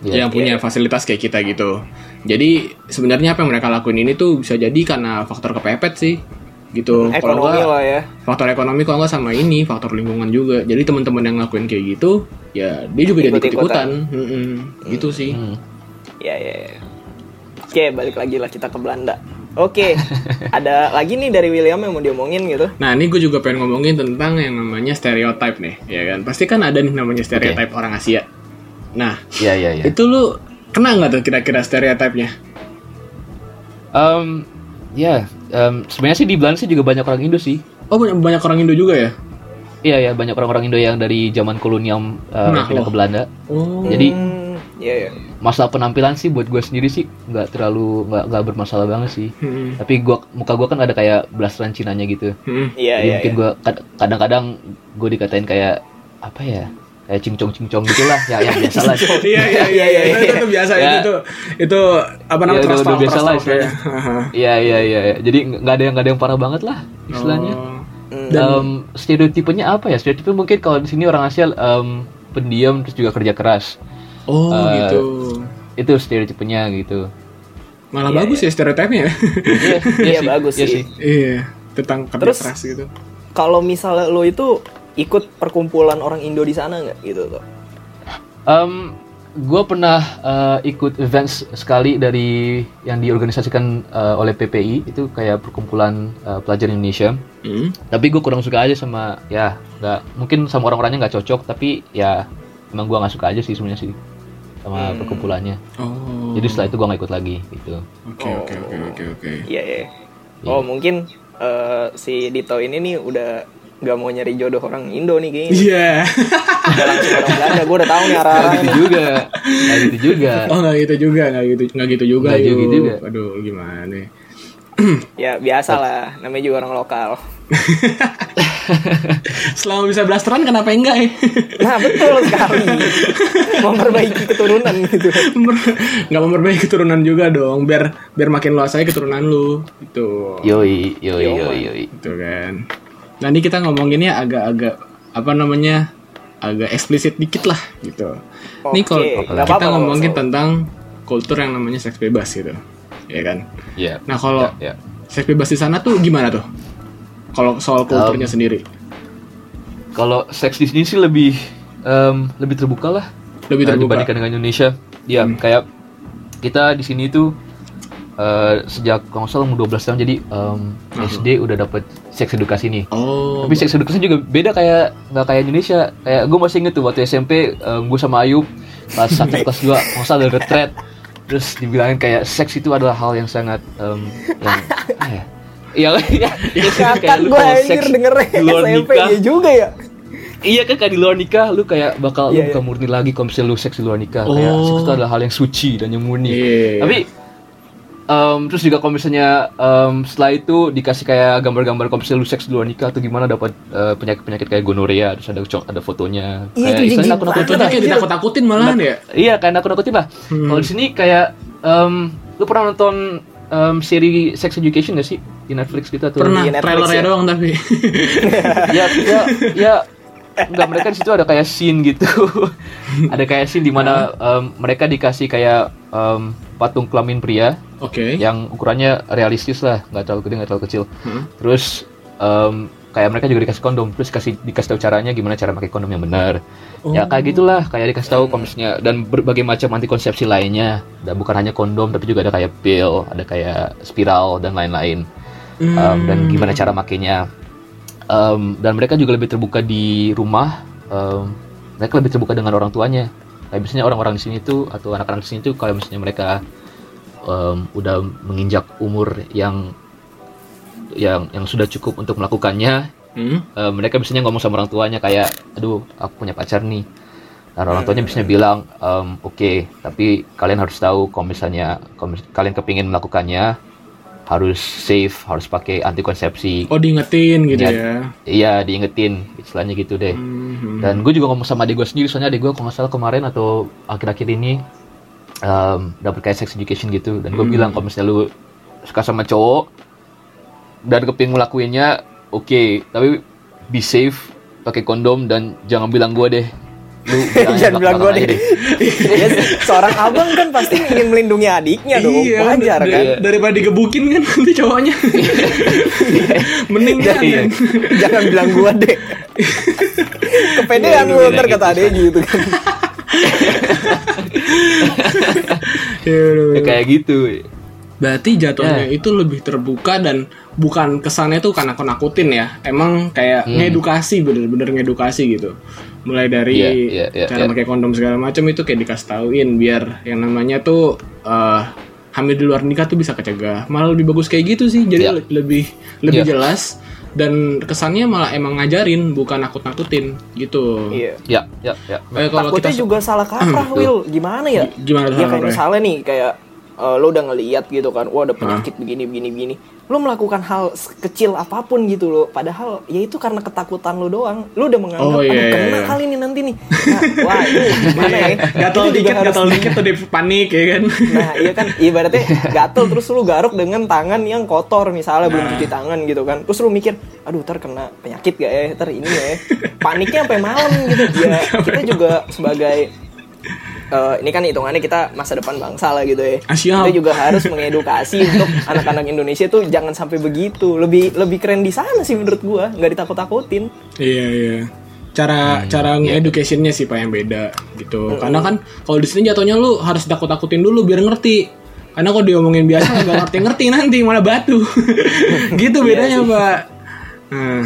yang Iya. punya fasilitas kayak kita gitu jadi sebenarnya apa yang mereka lakuin ini tuh bisa jadi karena faktor kepepet sih gitu Kalau Ekonomi nggak- lah ya faktor ekonomi kalau nggak sama ini faktor lingkungan juga jadi teman-teman yang ngelakuin kayak gitu ya dia juga jadi Ikut-ikutan. ikut-ikutan Mm-mm. gitu sih Hmm. Ya ya ya. Oke balik lagi lah kita ke Belanda Oke ada lagi nih dari William yang mau diomongin gitu Nah, ini gue juga pengen ngomongin tentang yang namanya stereotype nih, ya kan? Pasti kan ada nih namanya stereotype orang Asia. Nah, Iya iya iya. itu lu kena nggak tuh kira-kira stereotipnya? Em, ya em, sebenarnya sih di Belanda sih juga banyak orang Indo sih. Oh, banyak, banyak orang Indo juga ya? Iya ya banyak orang-orang Indo yang dari zaman kolonial eh, Nah, pindah loh. ke Belanda. Oh. Jadi Hmm, Ya ya masalah penampilan sih buat gue sendiri sih nggak terlalu nggak nggak bermasalah banget sih. Hmm. Tapi gua muka gue kan ada kayak belasteran Cinanya gitu. Hmm. Iya Jadi ya, mungkin gue kadang-kadang gue dikatain kayak apa ya kayak cingcong cingcong gitulah ya yang biasa lah Iya, iya, iya, iya, itu, itu, itu biasa, Ya. itu, itu, itu, apa namanya, Ya, udah- trust udah talk, biasa trust lah talk, ya. istilahnya. Iya iya iya iya. jadi nggak nggak ada yang nggak ada yang parah banget lah istilahnya Oh. Em, stereotipenya apa ya stereotipe mungkin kalau di sini orang Asia em, pendiam terus juga kerja keras Oh, Eh, gitu. itu stereotipenya gitu Malah bagus ya stereotipnya. iya Iya, bagus sih. Iya, tentang kerja Terus- keras gitu. Kalau misalnya lo itu ikut perkumpulan orang Indo di sana nggak gitu tuh Em, gue pernah eh, ikut events sekali dari yang diorganisasikan eh, oleh PPI itu kayak perkumpulan eh, pelajar Indonesia. Hmm. Tapi gue kurang suka aja sama ya nggak mungkin sama orang-orangnya nggak cocok tapi ya emang gue nggak suka aja sih sebenarnya sih sama Hmm. perkumpulannya. Oh. Jadi setelah itu gue nggak ikut lagi gitu. Oke oke oke oke oke. Iya iya. Oh mungkin eh, si Dito ini nih udah nggak mau nyari jodoh orang Indo nih kayaknya. Iya. Udah langsung orang Belanda. Gue udah tahu nih arah Nggak gitu juga, nggak gitu juga. Oh nggak gitu juga, nggak gitu, nggak gitu juga. Nggak yuk. gitu juga. Aduh gimana? Ya biasa lah. Namanya juga orang lokal. Selama bisa blasteran kenapa enggak ya? Nah betul sekali. Memperbaiki keturunan gitu. Mer- nggak memperbaiki keturunan juga dong, biar biar makin luas aja keturunan lu. Gitu. Itu. Yoi, yoi, yoi, yoi. Gitu kan. Nah ini kita ngomonginnya agak-agak apa namanya? agak eksplisit dikit lah gitu. Nih Oke, kalau kita nggak apa-apa, ngomongin nggak tentang kultur yang namanya seks bebas gitu. Ya kan? Iya. Nah, kalau- ya, ya. Seks bebas di sana tuh gimana tuh? Kalau soal Um, kulturnya sendiri. kalau seks di sini sih lebih em, lebih terbuka lah Lebih eh, terbuka. Hmm. dibandingkan dengan Indonesia. Iya, kayak kita di sini tuh eh, sejak kalau nggak salah umur 12 tahun jadi em, Hmm. SD udah dapet seks edukasi nih. Oh. Tapi seks edukasi juga beda kayak nggak kayak Indonesia. Kayak gue masih inget tuh waktu SMP gue eh, sama Ayub kelas 1 kelas 2 nggak salah ada retret. Terus dibilangin kayak seks itu adalah hal yang sangat em, yang apa ya? Iya, iya, iya, Kan gue anjir dengernya di luar SMP nikah. ya juga ya. Iya kan kayak di luar nikah lu kayak bakal Iya, lu bukan murni lagi kalau misalnya lu seks di luar nikah kayak Oh. seks itu adalah hal yang suci dan yang murni. Iya. Tapi em, terus juga kalau misalnya em, setelah itu dikasih kayak gambar-gambar kalau misalnya lu seks di luar nikah atau gimana dapat eh, penyakit-penyakit kayak gonorea terus ada cok ada Iya, fotonya. kayak itu istilahnya jijik nakut-nakutin Kulturnya lah. kayak ditakut-takutin malahan ya. Iya kayak nakut-nakutin lah. Hmm. Kalau di sini kayak em, lu pernah nonton em, seri Sex Education gak sih di Netflix gitu atau Pernah Di Netflix trailernya ya? doang tapi. ya ya ya nggak mereka di situ ada kayak scene gitu ada kayak scene di mana em, mereka dikasih kayak em, patung kelamin pria Oke. yang ukurannya realistis lah nggak terlalu gede nggak terlalu kecil Hmm. terus em, kayak mereka juga dikasih kondom terus kasih dikasih tahu caranya gimana cara pakai kondom yang benar ya kayak gitulah kayak dikasih tahu komisinya dan berbagai macam antikonsepsi lainnya dan bukan hanya kondom tapi juga ada kayak pil ada kayak spiral dan lain-lain Hmm. um, dan gimana cara makainya Um, dan mereka juga lebih terbuka di rumah um, mereka lebih terbuka dengan orang tuanya kayak biasanya orang-orang di sini tuh atau anak-anak di sini tuh kalau misalnya mereka um, udah menginjak umur yang yang yang sudah cukup untuk melakukannya Hmm. Eh, mereka biasanya ngomong sama orang tuanya kayak aduh aku punya pacar nih dan orang tuanya biasanya bilang "Em, oke tapi kalian harus tahu kalau misalnya kalau mis- kalian kepingin melakukannya harus safe harus pakai antikonsepsi Oh diingetin gitu Iya. ya. iya diingetin istilahnya gitu deh Hmm. dan gue juga ngomong sama adik gue sendiri soalnya adik gue kalau nggak salah kemarin atau akhir-akhir ini em, dapet kayak sex education gitu dan Hmm. gue bilang kalau misalnya lu suka sama cowok dan kepingin ngelakuinnya oke tapi be safe pakai kondom dan jangan bilang gue deh lu Jangan bilang gue aja deh. Ya, Iya. seorang abang kan pasti ingin melindungi adiknya dong. Iya, Wajar dar- kan. dar- Iya, Daripada digebukin kan nanti cowoknya. Mending Iya, kan. iya. kan? Jangan bilang gua deh. Kepedean lu Iya, ntar gitu, kata adek gitu kan. Iya, iya, Ya, iya. kayak gitu Berarti jatuhnya Iya. itu lebih terbuka dan bukan kesannya tuh karena nakutin ya. Emang kayak Hmm. ngedukasi bener-bener ngedukasi gitu. Mulai dari Iya, iya, iya, cara iya. pakai kondom segala macam itu kayak dikasih tauin biar yang namanya tuh eh, hamil di luar nikah tuh bisa kecegah. Malah lebih bagus kayak gitu sih. Jadi Iya. le- lebih lebih Iya. jelas dan kesannya malah emang ngajarin bukan nakut-nakutin gitu. Iya. ya ya ya Eh, kalau Takutnya kita juga salah kaprah, Will. Gimana ya? gimana tuh Ya kayak Roy? misalnya nih kayak eh, lo udah ngeliat gitu kan, wah ada penyakit begini begini begini. Lo melakukan hal kecil apapun gitu lo, padahal ya itu karena ketakutan lo doang. Lo udah menganggap Oh, iya, "Aduh, iya, kena iya." kali nih nanti nih. Nah, wah ini gimana ya? Gatel Itu juga dikit, harus gatel dikit tuh dia panik ya kan. Nah iya kan ibaratnya gatel terus lu garuk dengan tangan yang kotor misalnya belum Nah. cuci tangan gitu kan Terus lu mikir aduh ntar kena penyakit gak ya ntar ini ya Paniknya sampai malam gitu ya kita juga sebagai eh, ini kan hitungannya kita masa depan bangsa lah gitu ya Ah, siap. kita juga harus mengedukasi untuk anak-anak Indonesia tuh jangan sampai begitu lebih lebih keren di sana sih menurut gua nggak ditakut-takutin Iya iya. cara cara educationnya sih pak yang beda Oh. gitu karena kan kalau di sini jatuhnya lu harus takut takutin dulu biar ngerti karena kalau diomongin biasa nggak ngerti ngerti nanti malah batu gitu Iya bedanya pak Nah.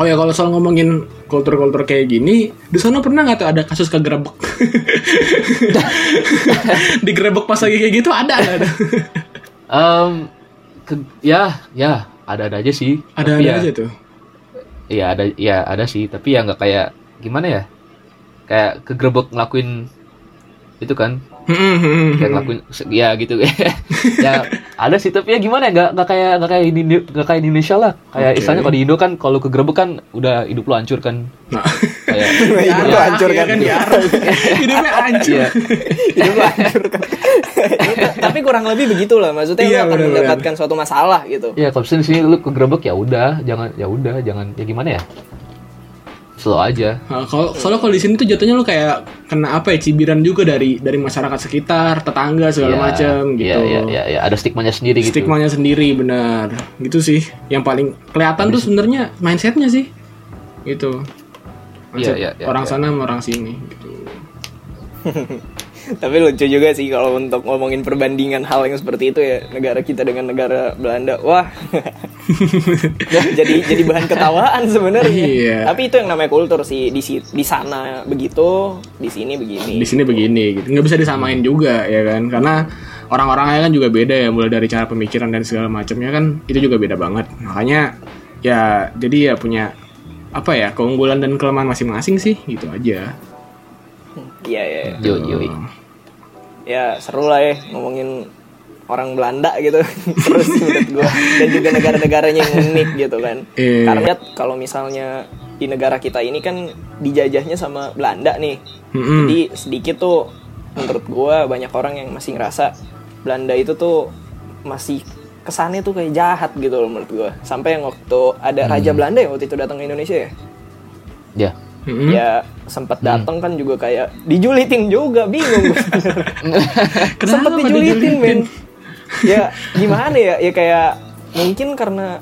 oh ya kalau soal ngomongin kultur-kultur kayak gini di sana pernah nggak tuh ada kasus kegerebek digerebek pas lagi kayak gitu ada ada, ada. Em, ke- ya ya ada-ada aja sih ada, Tapi ada ya, aja tuh Iya ada, ya ada sih. Tapi ya nggak kayak gimana ya? Kayak kegerebek ngelakuin itu kan? Hmm. Kayak ngelakuin se- ya gitu. ya ada sih. Tapi ya gimana ya? Nggak nggak kayak nggak kayak ini nggak kayak di Indonesia lah. Kayak Oke. istilahnya kalau di Indo kan kalau kegerebek kan udah hidup lu hancur kan? Nah. Kayak Hidup lu Diarak, hancur ya kan? diarak. hidupnya hancur iya. Hidup lu hancur kan? Tapi kurang lebih begitulah maksudnya Iya, lu akan benar-benar. mendapatkan suatu masalah gitu. Ya kalau di sini lu kegerebek ya udah, jangan ya udah, jangan ya gimana ya? Slow aja. Nah, kalau soalnya kalau di sini tuh jatuhnya lu kayak kena apa ya cibiran juga dari dari masyarakat sekitar, tetangga segala Ya, macam gitu. Ya, ya, ya, ya, ada stigmanya sendiri gitu. Stigmanya sendiri benar. Gitu sih. Yang paling kelihatan tuh sebenarnya mindsetnya sih. Gitu. Mindset Iya, iya, iya, orang iya. sana sama orang sini gitu. Tapi lucu juga sih kalau untuk ngomongin perbandingan hal yang seperti itu ya negara kita dengan negara Belanda. Wah. Nah, jadi jadi bahan ketawaan sebenarnya. Iya. Tapi itu yang namanya kultur sih di si- di sana begitu, di sini begini. Di sini begini gitu. Nggak bisa disamain Hmm. juga ya kan karena orang-orangnya kan juga beda ya mulai dari cara pemikiran dan segala macamnya kan itu juga beda banget. Makanya ya jadi ya punya apa ya keunggulan dan kelemahan masing-masing sih gitu aja. Iya, iya. iya. Yo, yo, yo. Ya, seru lah ya ngomongin orang Belanda gitu. Terus menurut gua dan juga negara-negaranya yang unik gitu kan. Iya. Karena lihat kalau misalnya di negara kita ini kan dijajahnya sama Belanda nih. Mm-mm. Jadi sedikit tuh menurut gua banyak orang yang masih ngerasa Belanda itu tuh masih kesannya tuh kayak jahat gitu loh menurut gua. Sampai yang waktu ada Hmm. Raja Belanda ya waktu itu datang ke Indonesia ya. Ya. Mm-mm. Ya sempat Hmm. datang kan juga kayak dijulitin juga bingung. gua sebenarnya. sempat Kenapa dijulitin, dijulitin? men. Ya gimana ya? Ya kayak mungkin karena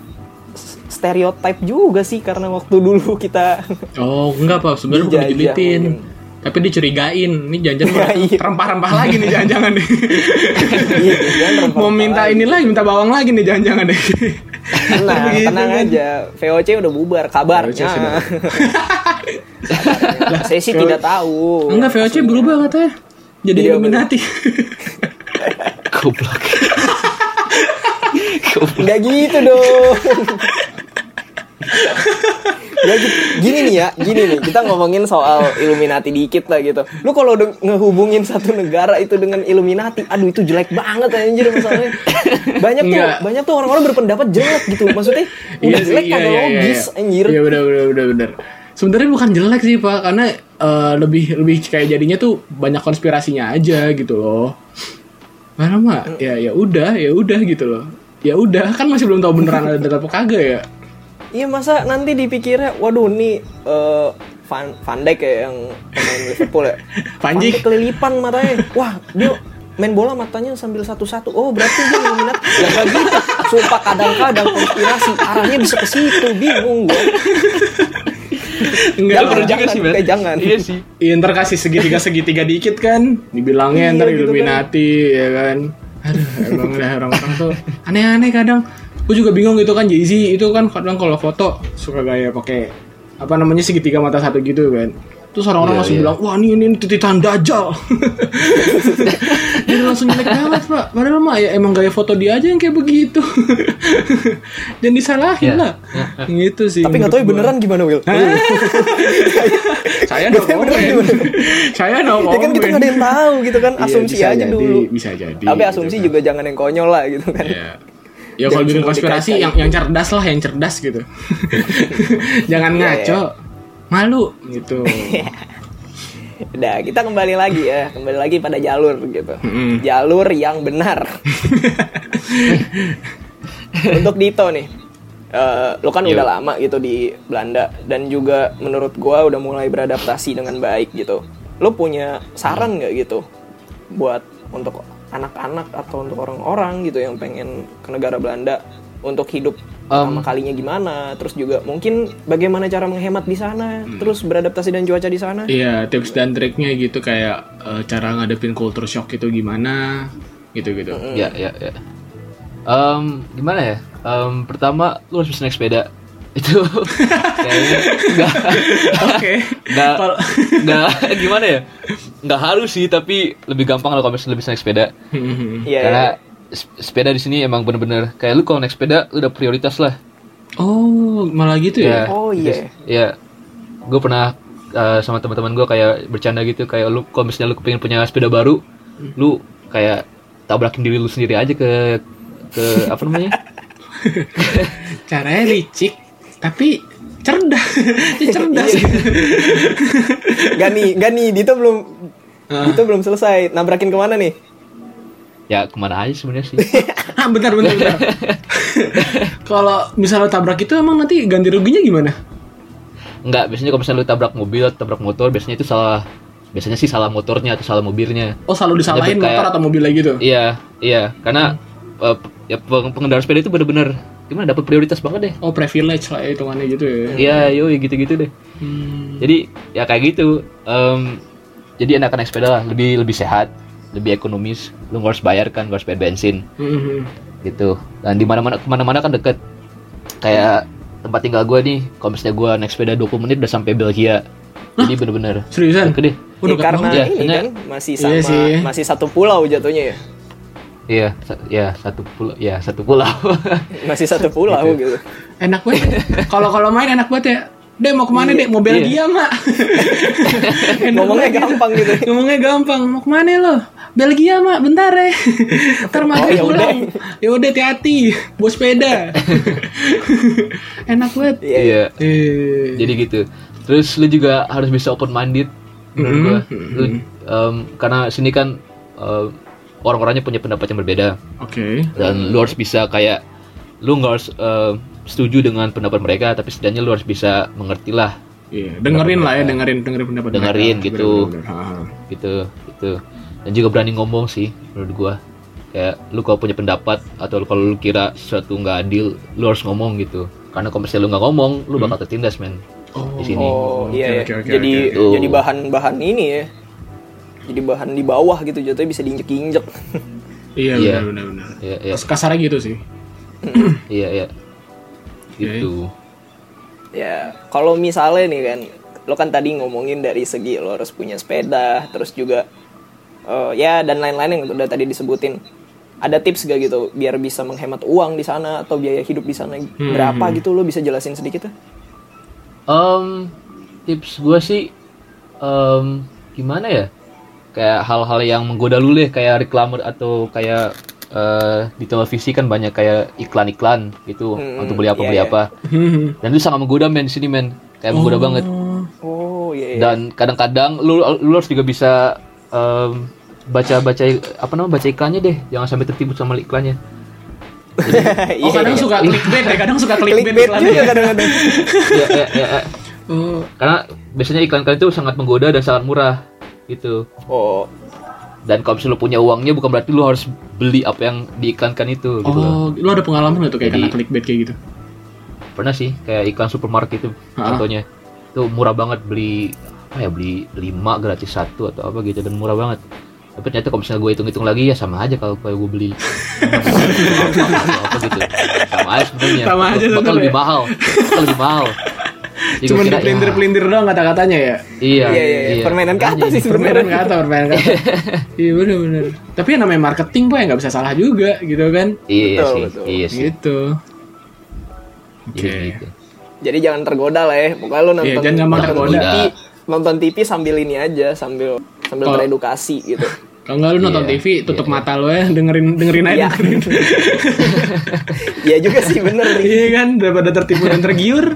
s- stereotype juga sih karena waktu dulu kita Oh, enggak Pak, sebenarnya bukan Dijajah dijulitin. mungkin. Tapi dicurigain, ini jangan-jangan Iya, iya. rempah-rempah lagi nih jangan-jangan nih. Iya, jangan rempah-rempah Mau minta ini lagi, minta bawang lagi nih jangan-jangan deh. tenang, Begitu tenang kan. aja. VOC udah bubar kabarnya. VOC sudah. Kabarnya. Saya sih tidak tahu. Enggak, VOC berubah katanya. eh. Jadi Iya, Illuminati. Goblok. Enggak gitu dong. Nggak gitu. Gini nih ya, gini nih. Kita ngomongin soal Illuminati dikit lah gitu. Lu kalau udah ngehubungin satu negara itu dengan Illuminati, aduh itu jelek banget anjir masalahnya. Banyak tuh, Enggak. banyak tuh orang-orang berpendapat jelek gitu. Maksudnya udah jelek kagak logis anjir. Iya, benar benar benar benar. Sebenarnya bukan jelek sih, Pak, karena eh, lebih lebih kayak jadinya tuh banyak konspirasinya aja gitu loh. Mana mah ya ya udah, ya udah gitu loh. Ya udah, kan masih belum tahu beneran ada data apa kagak ya. Iya masa nanti dipikirnya waduh nih eh, Van Van Dijk ya yang pemain Liverpool ya. Van Panji. Dijk kelilipan matanya. Wah, dia main bola matanya sambil satu-satu. Oh, berarti dia minat. Ya nggak gitu. Sumpah kadang-kadang konspirasi arahnya bisa ke situ, bingung gue. Enggak, Jangan, perlu jangan, eh, jangan. Iya sih. Iya ntar kasih segitiga-segitiga dikit kan Dibilangnya Iya, ntar gitu Illuminati ya kan Aduh emang dah orang-orang tuh aneh-aneh kadang Gue juga bingung gitu kan Jay-Z itu kan kadang kalau foto suka gaya pakai Apa namanya segitiga mata satu gitu kan Terus orang-orang Iya, langsung iya. bilang Wah ini, ini, ini tititan dajal Dia langsung jelek banget pak Padahal mah ya emang gaya foto dia aja yang kayak begitu Dan disalahin Iya. lah Gitu sih Tapi nggak tahu ya menurut gua. beneran gimana Will. Saya no comment Saya no Ya comment kan kita nggak ada yang tahu gitu kan, Iya, asumsi bisa aja jadi, dulu. bisa jadi Tapi asumsi gitu kan. juga jangan yang konyol lah gitu kan. ya ya kalau Jangan bikin semua konspirasi dikait-kaitin. yang yang cerdas lah yang cerdas gitu jangan Iya, ngaco malu gitu Nah, kita kembali lagi ya, kembali lagi pada jalur gitu. Mm-mm. Jalur yang benar. Untuk Dito nih. eh, lo kan udah lama gitu di Belanda dan juga menurut gua udah mulai beradaptasi dengan baik gitu. Lo punya saran nggak gitu buat untuk anak-anak atau untuk orang-orang gitu yang pengen ke negara Belanda untuk hidup Um, pertama kalinya gimana, terus juga mungkin bagaimana cara menghemat di sana, terus beradaptasi dan cuaca di sana. Hmm. Iya, tips dan triknya gitu kayak eh, cara ngadepin culture shock itu gimana gitu-gitu. Mm. Ya, ya, ya. Em, gimana ya? Em, pertama, lu harus bisa naik sepeda. Itu kayaknya nggak, Oke. nggak, Kalau- nggak, gimana ya? Nggak harus sih, tapi lebih gampang kalau kamu lebih bisa naik sepeda. Iya, Karena sep- sepeda di sini emang bener-bener kayak lu kalau naik sepeda lu udah prioritas lah. Oh, malah gitu ya? Ya, Oh, iya. Ya, gue pernah eh, sama teman-teman gue kayak bercanda gitu kayak lu kalau misalnya lu pengen punya sepeda baru, Hmm. lu kayak tabrakin diri lu sendiri aja ke ke apa namanya? Iya. Caranya licik, tapi cerdas. Dia cerdas. Iya. Gani, Gani, Dito belum Dito belum selesai. Nabrakin kemana nih? ya kemana aja sebenarnya sih ah, bentar, bentar, bentar. Kalau misalnya tabrak itu emang nanti ganti ruginya gimana? nggak biasanya kalau misalnya lu tabrak mobil atau tabrak motor biasanya itu salah biasanya sih salah motornya atau salah mobilnya Oh, selalu disalahin Tapi kayak- motor atau mobilnya gitu. iya iya karena eh, pe- ya, peng- pengendara sepeda itu bener-bener gimana dapat prioritas banget deh Oh, privilege lah hitungannya gitu ya. iya yoi gitu-gitu deh Hmm. jadi ya kayak gitu Em, jadi enakan naik sepeda lah lebih lebih sehat lebih ekonomis lu nggak harus bayar kan nggak harus bayar bensin Mhm. gitu dan di mana mana kemana mana kan deket kayak tempat tinggal gue nih kalau misalnya gue naik sepeda 20 menit udah sampai Belgia jadi bener-bener Seriusan? deket deh Udah Eh, karena banget. ini Iya, kan masih sama Iya sih. masih satu pulau jatuhnya ya. Iya, sa- ya satu pulau, ya satu pulau. Masih satu pulau gitu. Enak banget. Kalau kalau main enak banget ya. Dek mau kemana dek? Mau Belgia mak? Enak Ngomongnya banget gampang gitu. Ngomongnya gampang. Mau kemana lo? Belgia mak, bentar ya. Ntar maghrib yaudah. pulang. Ya udah hati-hati, bawa sepeda. enak banget. Iya. Iya, Eh. jadi gitu. Terus lu juga harus bisa open minded menurut gua. Lu, em, karena sini kan em, orang-orangnya punya pendapat yang berbeda Oke. dan lu harus bisa kayak lu nggak harus em, setuju dengan pendapat mereka, tapi setidaknya lu harus bisa mengerti lah Iya, dengerin lah ya, dengerin dengerin pendapat Dengerin mereka. gitu. Bener-bener. Ha, ha. gitu, gitu. Dan juga berani ngomong sih menurut gua. Kayak lu kalau punya pendapat atau lu- kalau lu kira sesuatu nggak adil, lu harus ngomong gitu. Karena kalau misalnya lu nggak ngomong, lu bakal tertindas men. Oh. Di sini. Oh, Oke, iya. ya. oke, oke, jadi oke, oke. jadi bahan-bahan ini ya. Jadi bahan di bawah gitu jatuhnya bisa diinjek-injek. Iya, Iya. benar benar. Iya, iya. Terus kasarnya gitu sih. Iya, iya. Gitu. ya, kalau misalnya nih kan lo kan tadi ngomongin dari segi lo harus punya sepeda, terus juga eh, ya dan lain-lain yang udah tadi disebutin. Ada tips gak gitu biar bisa menghemat uang di sana atau biaya hidup di sana Hmm. berapa gitu lo bisa jelasin sedikit tuh? Em, tips gua sih em, gimana ya? Kayak hal-hal yang menggoda lu deh, kayak reklame atau kayak eh, di televisi kan banyak kayak iklan-iklan gitu Hmm, untuk beli iya, apa beli iya. apa. Dan itu sangat menggoda men di sini men. Kayak menggoda banget. Oh iya. iya. Dan kadang-kadang lu, lu harus juga bisa em, baca-baca apa namanya baca iklannya deh, jangan sampai tertipu sama iklannya. Oh, kadang suka clickbait ya, kadang suka clickbait, Iya. clickbait iklannya. juga kadang-kadang. Iya, iya, iya, iya. Oh, Karena biasanya iklan-iklan itu sangat menggoda dan sangat murah gitu. Oh, Dan kalau misalnya lu punya uangnya bukan berarti lu harus beli apa yang diiklankan itu gitu Oh, loh. lu ada pengalaman gak tuh kayak Jadi- kena clickbait kayak gitu? Pernah sih kayak iklan supermarket itu Ha? contohnya. Itu murah banget beli apa ya beli 5 gratis satu atau apa gitu dan murah banget. Tapi ternyata kalau misalnya gue hitung-hitung lagi ya sama aja kalau kalau gue beli apa, apa- apa gitu. Sama aja sebenarnya. Sama Bakal- aja bakal sebenarnya. lebih mahal. Bakal lebih mahal. Jadi gue Cuman kira, ya, dipelintir-pelintir doang kata-katanya ya. Iya, iya iya. iya. Permainan kata sih Permainan sebenarnya. kata, permainan kata. Iya bener-bener. Tapi yang namanya marketing pak ya nggak bisa salah juga gitu kan? Iya Betul, sih, betul. iya sih. Gitu. Jadi Oke. gitu. Jadi jangan tergoda lah ya. Pokoknya lu nonton Iya, jangan gampang nonton tergoda. TV, nonton TV sambil ini aja, sambil sambil Kalau- beredukasi gitu. Kalau nggak lu nonton Iya, TV, tutup mata lu ya, dengerin dengerin aja. Iya. dengerin. Iya juga sih bener nih. Iya kan, daripada tertipu dan tergiur.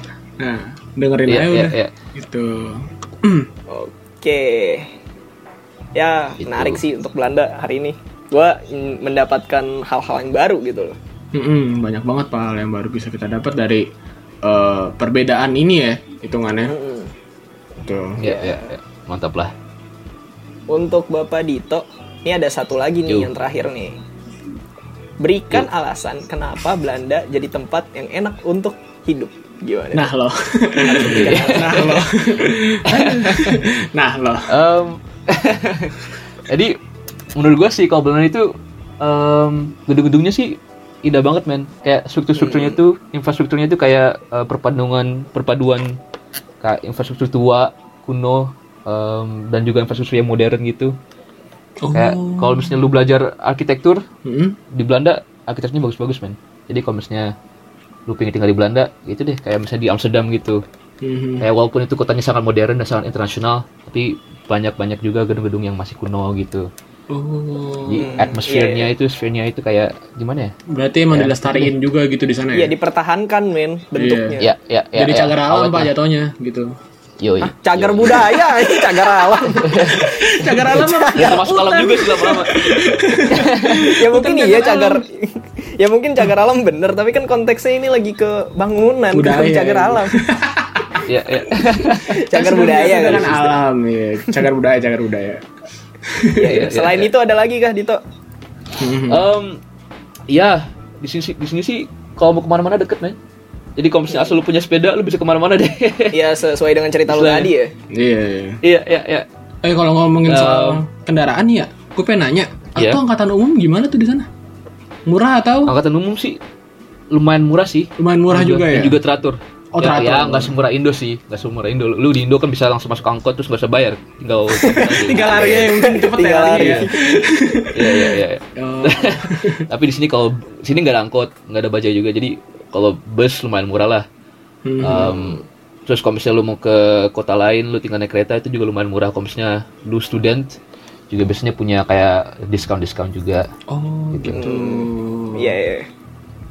Nah, dengerin Iya, aja iya, udah. iya. Gitu. Oke. Ya, menarik sih untuk Belanda hari ini. Gua mm, mendapatkan hal-hal yang baru gitu loh. Mm-mm, banyak banget pak hal yang baru bisa kita dapat dari eh, perbedaan ini ya hitungannya. Mm. Betul. Iya, iya, iya. Mantap lah. Untuk Bapak Dito, ini ada satu lagi nih Yo. yang terakhir nih. Berikan alasan kenapa Belanda jadi tempat yang enak untuk hidup. Gimana? Nah loh, nah loh, nah loh. Em, jadi menurut gua sih kalau Belanda itu em, gedung-gedungnya sih indah banget men kayak struktur-strukturnya tuh infrastrukturnya tuh kayak eh, perpaduan perpaduan kayak infrastruktur tua kuno em, dan juga infrastruktur yang modern gitu kayak kalau misalnya lu belajar arsitektur Oh. Mm-mm. di Belanda arsitekturnya bagus-bagus men jadi kalau misalnya lu pengen tinggal di Belanda ya itu deh kayak misalnya di Amsterdam gitu Mhm. Kayak walaupun itu kotanya sangat modern dan sangat internasional, tapi banyak-banyak juga gedung-gedung yang masih kuno gitu. Oh, Jadi Hmm, atmosfernya itu, sfernya itu kayak gimana ya? berarti emang dilestariin juga gitu di sana ya? Iya dipertahankan men bentuknya. Ya, ya, ya. Iya. Jadi ya, cagar alam pak awetnya. jatuhnya gitu. Yoi. Ah, cagar budaya, ini cagar alam. Cagar alam apa? Ya termasuk alam juga sih lama-lama. ya mungkin Bukan iya cagar cagar ya mungkin cagar alam bener tapi kan konteksnya ini lagi ke bangunan bukan Budaya. cagar alam Ya, ya. cagar budaya kan kan alam ya. Cagar budaya, cagar budaya. Iya, iya. selain itu ada lagi kah Dito Hmm. Em, ya di sini sih- di sini sih kalau mau kemana-mana deket men. Jadi kalau misalnya asal lu punya sepeda, lu bisa kemana-mana deh. ya sesuai dengan cerita lu Eh. Selain- tadi ya Iya. iya. Iya, iya, iya. Eh kalau ngomongin soal Um, kendaraan ya, gue pengen nanya, Iya. atau angkatan umum gimana tuh di sana? Murah atau Angkatan umum sih lumayan murah sih. lumayan murah Dan juga, ya? dan juga teratur. Oh, ya, teratur. Ya, nggak semurah Indo sih, nggak semurah Indo. Lu di Indo kan bisa langsung masuk angkot terus nggak usah bayar, tinggal. Tiga lari ya, mungkin cepet ya Tiga lari. lari. Ya. Iya, iya, iya. Oh, Tapi di sini kalau sini nggak ada angkot, nggak ada bajaj juga. Jadi kalau bus lumayan murah lah. Hmm. Em, terus kalau misalnya lu mau ke kota lain, lu tinggal naik kereta itu juga lumayan murah. Kalau misalnya lu student juga biasanya punya kayak diskon-diskon juga. oh Gitu. gitu. iya iya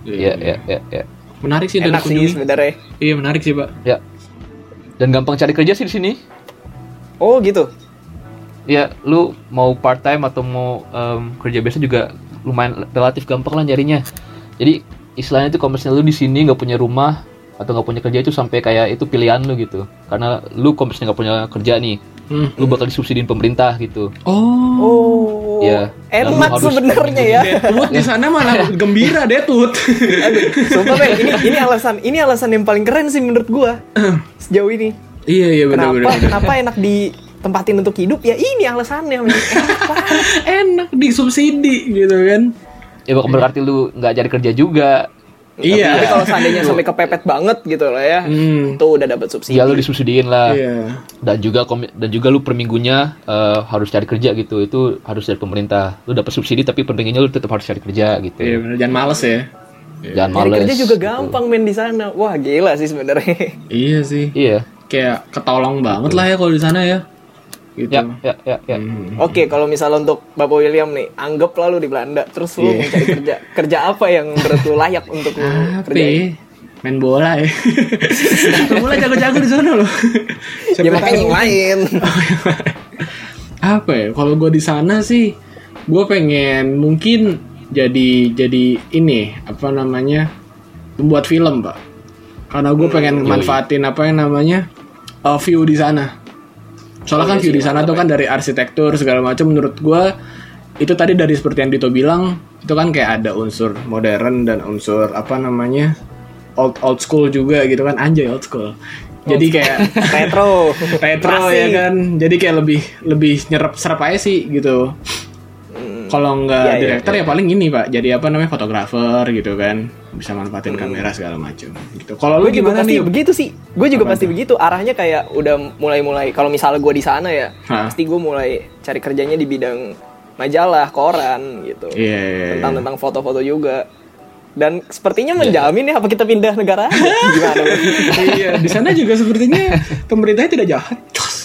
Iya, iya, iya, iya. Menarik sih dan enak sih dikunjungi. sebenarnya Iya menarik sih pak. Ya. Dan gampang cari kerja sih di sini. oh gitu Ya, lu mau part time atau mau em, kerja biasa juga lumayan relatif gampang lah nyarinya. Jadi istilahnya itu kalau misalnya lu di sini nggak punya rumah atau nggak punya kerja itu sampai kayak itu pilihan lu gitu. Karena lu kalau misalnya nggak punya kerja nih, Hmm. lu bakal disubsidiin pemerintah gitu. Oh, oh Iya. enak Lalu harus- Iya. sebenarnya ya Detut di sana malah gembira Detut. sumpah men ini ini alasan ini alasan yang paling keren sih menurut gua sejauh ini iya iya benar kenapa benar. benar. kenapa enak ditempatin untuk hidup ya ini alasannya men. Enak banget. Enak disubsidi gitu kan. Ya bukan berarti lu nggak cari kerja juga. Iya. tapi kalau seandainya sampai kepepet banget gitu loh ya Hmm. tuh udah dapat subsidi Ya lu disubsidiin lah. Iya. Dan juga kom- dan juga lu per minggunya eh, harus cari kerja gitu. Itu harus dari pemerintah. Lu dapat subsidi tapi per minggunya lu tetap harus cari kerja gitu. Iya. Iya benar. Jangan males ya. Jangan Cari males. kerja juga gitu. gampang men di sana. Wah, gila sih sebenarnya. Iya sih. Iya. Kayak ketolong banget lah ya kalau di sana ya. Gitu. Ya, ya, ya, ya. Hmm, Hmm. Oke, kalau misalnya untuk Bapak William nih, anggap lalu di Belanda, Iya. terus lu mau cari kerja. Kerja apa yang menurut lu layak untuk lu Apa? kerjain? ya? Main bola ya. Main bola jago-jago di sana loh. Siapa Ya makanya yang tahu. lain. apa ya kalau gue di sana sih gue pengen mungkin jadi jadi ini apa namanya pembuat film pak karena gue pengen manfaatin apa yang namanya uh, view di sana soalnya kan view di sana tuh kan dari arsitektur segala macam menurut gue itu tadi dari seperti yang Dito bilang itu kan kayak ada unsur modern dan unsur apa namanya old old school juga gitu kan anjay old school jadi kayak Retro. retro Klasik. ya kan jadi kayak lebih lebih nyerap serap aja sih gitu kalau nggak Iya, iya, direktur ya paling ini pak jadi apa namanya fotografer gitu kan bisa manfaatin kamera segala macam gitu kalau lu Gue gimana juga pasti nih begitu Hmm. sih. Gue juga pasti begitu. Arahnya kayak udah mulai-mulai. Kalau misalnya gue di sana ya, Hah. pasti gue mulai cari kerjanya di bidang majalah, koran gitu. Iya, iya, iya. Tentang tentang foto-foto juga. Dan sepertinya menjamin ya apa kita pindah negara? aja? Gimana? Bang? iya di sana juga sepertinya pemerintahnya tidak jahat Cos.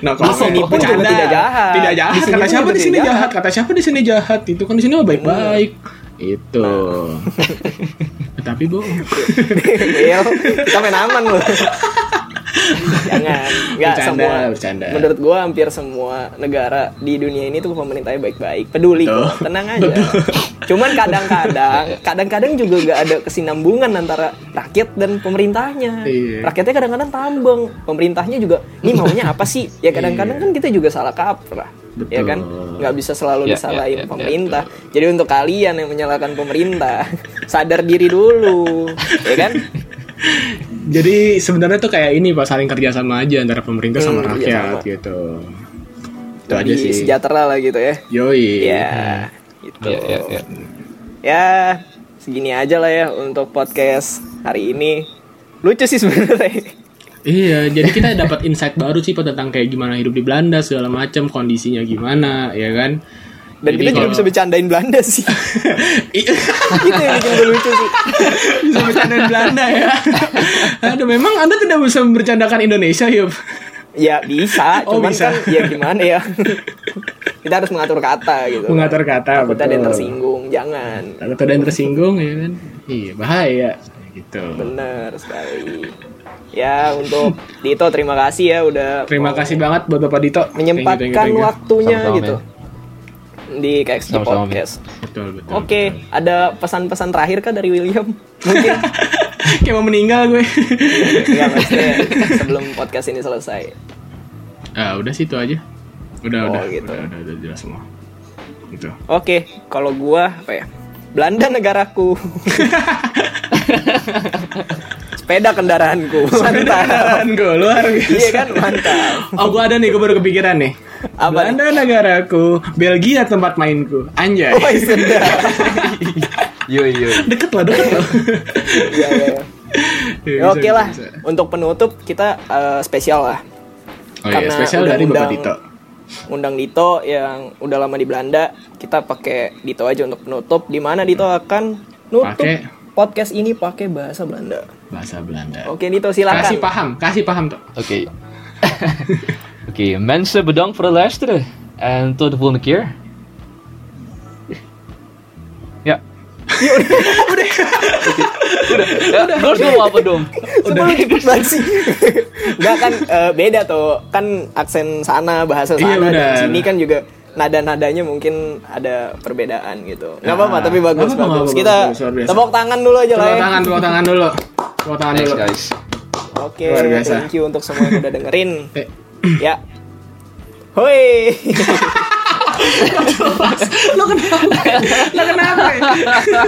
nah kalau Di sini kayak pun juga bercanda, tidak jahat. tidak jahat Di sini kata juga siapa di tidak sini jahat. jahat. kata siapa di sini jahat itu kan di sini mah baik-baik itu Nah. tapi bohong Iya, kita main aman loh. Jangan, nggak Bercanda, semua. bercanda. Menurut gua hampir semua negara di dunia ini tuh pemerintahnya baik-baik, peduli Betul. kok, tenang aja. Cuman kadang-kadang, kadang-kadang juga nggak ada kesinambungan antara rakyat dan pemerintahnya. Iya. Rakyatnya kadang-kadang tambeng, pemerintahnya juga, ini maunya apa sih? Ya kadang-kadang kan kita juga salah kaprah. ya kan Iya. Betul. nggak bisa selalu Ya, disalahin ya, ya, pemerintah jadi untuk kalian yang menyalahkan pemerintah sadar diri dulu ya kan Jadi sebenarnya tuh kayak ini pak saling kerja sama aja antara pemerintah sama Hmm, iya. kerja rakyat sama. gitu. Itu aja jadi sih. Iya. sejahtera lah gitu ya Yoi. ya gitu Iya, iya, ya. iya. ya segini aja lah ya untuk podcast hari ini lucu sih sebenarnya Iya, jadi kita dapat insight baru sih Pak tentang kayak gimana hidup di Belanda segala macam, kondisinya gimana, ya kan? dan Jadi kita juga kalau- bisa bercandain Belanda sih Iya, itu yang bikin gue lucu sih bisa bercandaan Belanda ya. Aduh, memang Anda tidak bisa bercandakan Indonesia, Yup. ya bisa Oh, cuman bisa. kan ya gimana ya kita harus mengatur kata gitu Mengatur kata, kita ada betul. yang tersinggung jangan Takut ada yang tersinggung ya kan? Iya, bahaya gitu. bener sekali ya untuk Dito terima kasih ya udah Terima mau kasih banget buat Bapak Dito menyempatkan Thank you, thank you, thank you. waktunya Sama-sama, gitu di KXG Sama-sama, men. Podcast Betul, betul. oke ada pesan-pesan terakhir kah dari William mungkin Kayak mau meninggal gue. Enggak, Iya, maksudnya sebelum podcast ini selesai Ah, udah sih itu aja. Udah, Oh, udah, gitu. udah, udah, udah jelas semua. Gitu. Oke, kalau gua apa ya? Belanda negaraku. Sepeda kendaraanku. Mantap. Beneran gue luar biasa. Iya kan, mantap. Oh gue ada nih, gue baru kepikiran nih Apa nih? Belanda negaraku, Belgia tempat mainku Anjay Oh, sudah. Yo yo. Deket lah, deket lah Iya, iya, iya. Iya, Ya, bisa, Oke bisa, lah, bisa. untuk penutup kita eh, spesial lah. Oh iya, Karena spesial dari Bapak undang-undang- Dito Undang Dito yang udah lama di Belanda, kita pakai Dito aja untuk penutup. Di mana Dito akan nutup Pakai. podcast ini pakai bahasa Belanda. Bahasa Belanda Oke, Dito Eh, Kasih silakan. paham, kasih paham tuh Oké. Oké, mensen bedankt voor het luisteren. En tot de volgende keer. Ja. Ja, dat is wel wat dom. Sebelum cepet gitu banget sih. Enggak kan eh, beda tuh. Kan aksen sana, bahasa Iya, sana dan benar. sini kan juga nada-nadanya mungkin ada perbedaan gitu. Enggak Nah, apa-apa, tapi bagus nggak apa-apa, bagus. nggak Kita apa-apa, bagus, luar biasa. tepuk tangan dulu aja lah. Tepuk ya. tangan, tepuk tangan dulu Tepuk tangan Thanks dulu guys. Oke, Luar biasa. thank you untuk semua yang udah dengerin. Eh, ya. Hoi. Lo kenapa? Lo kenapa?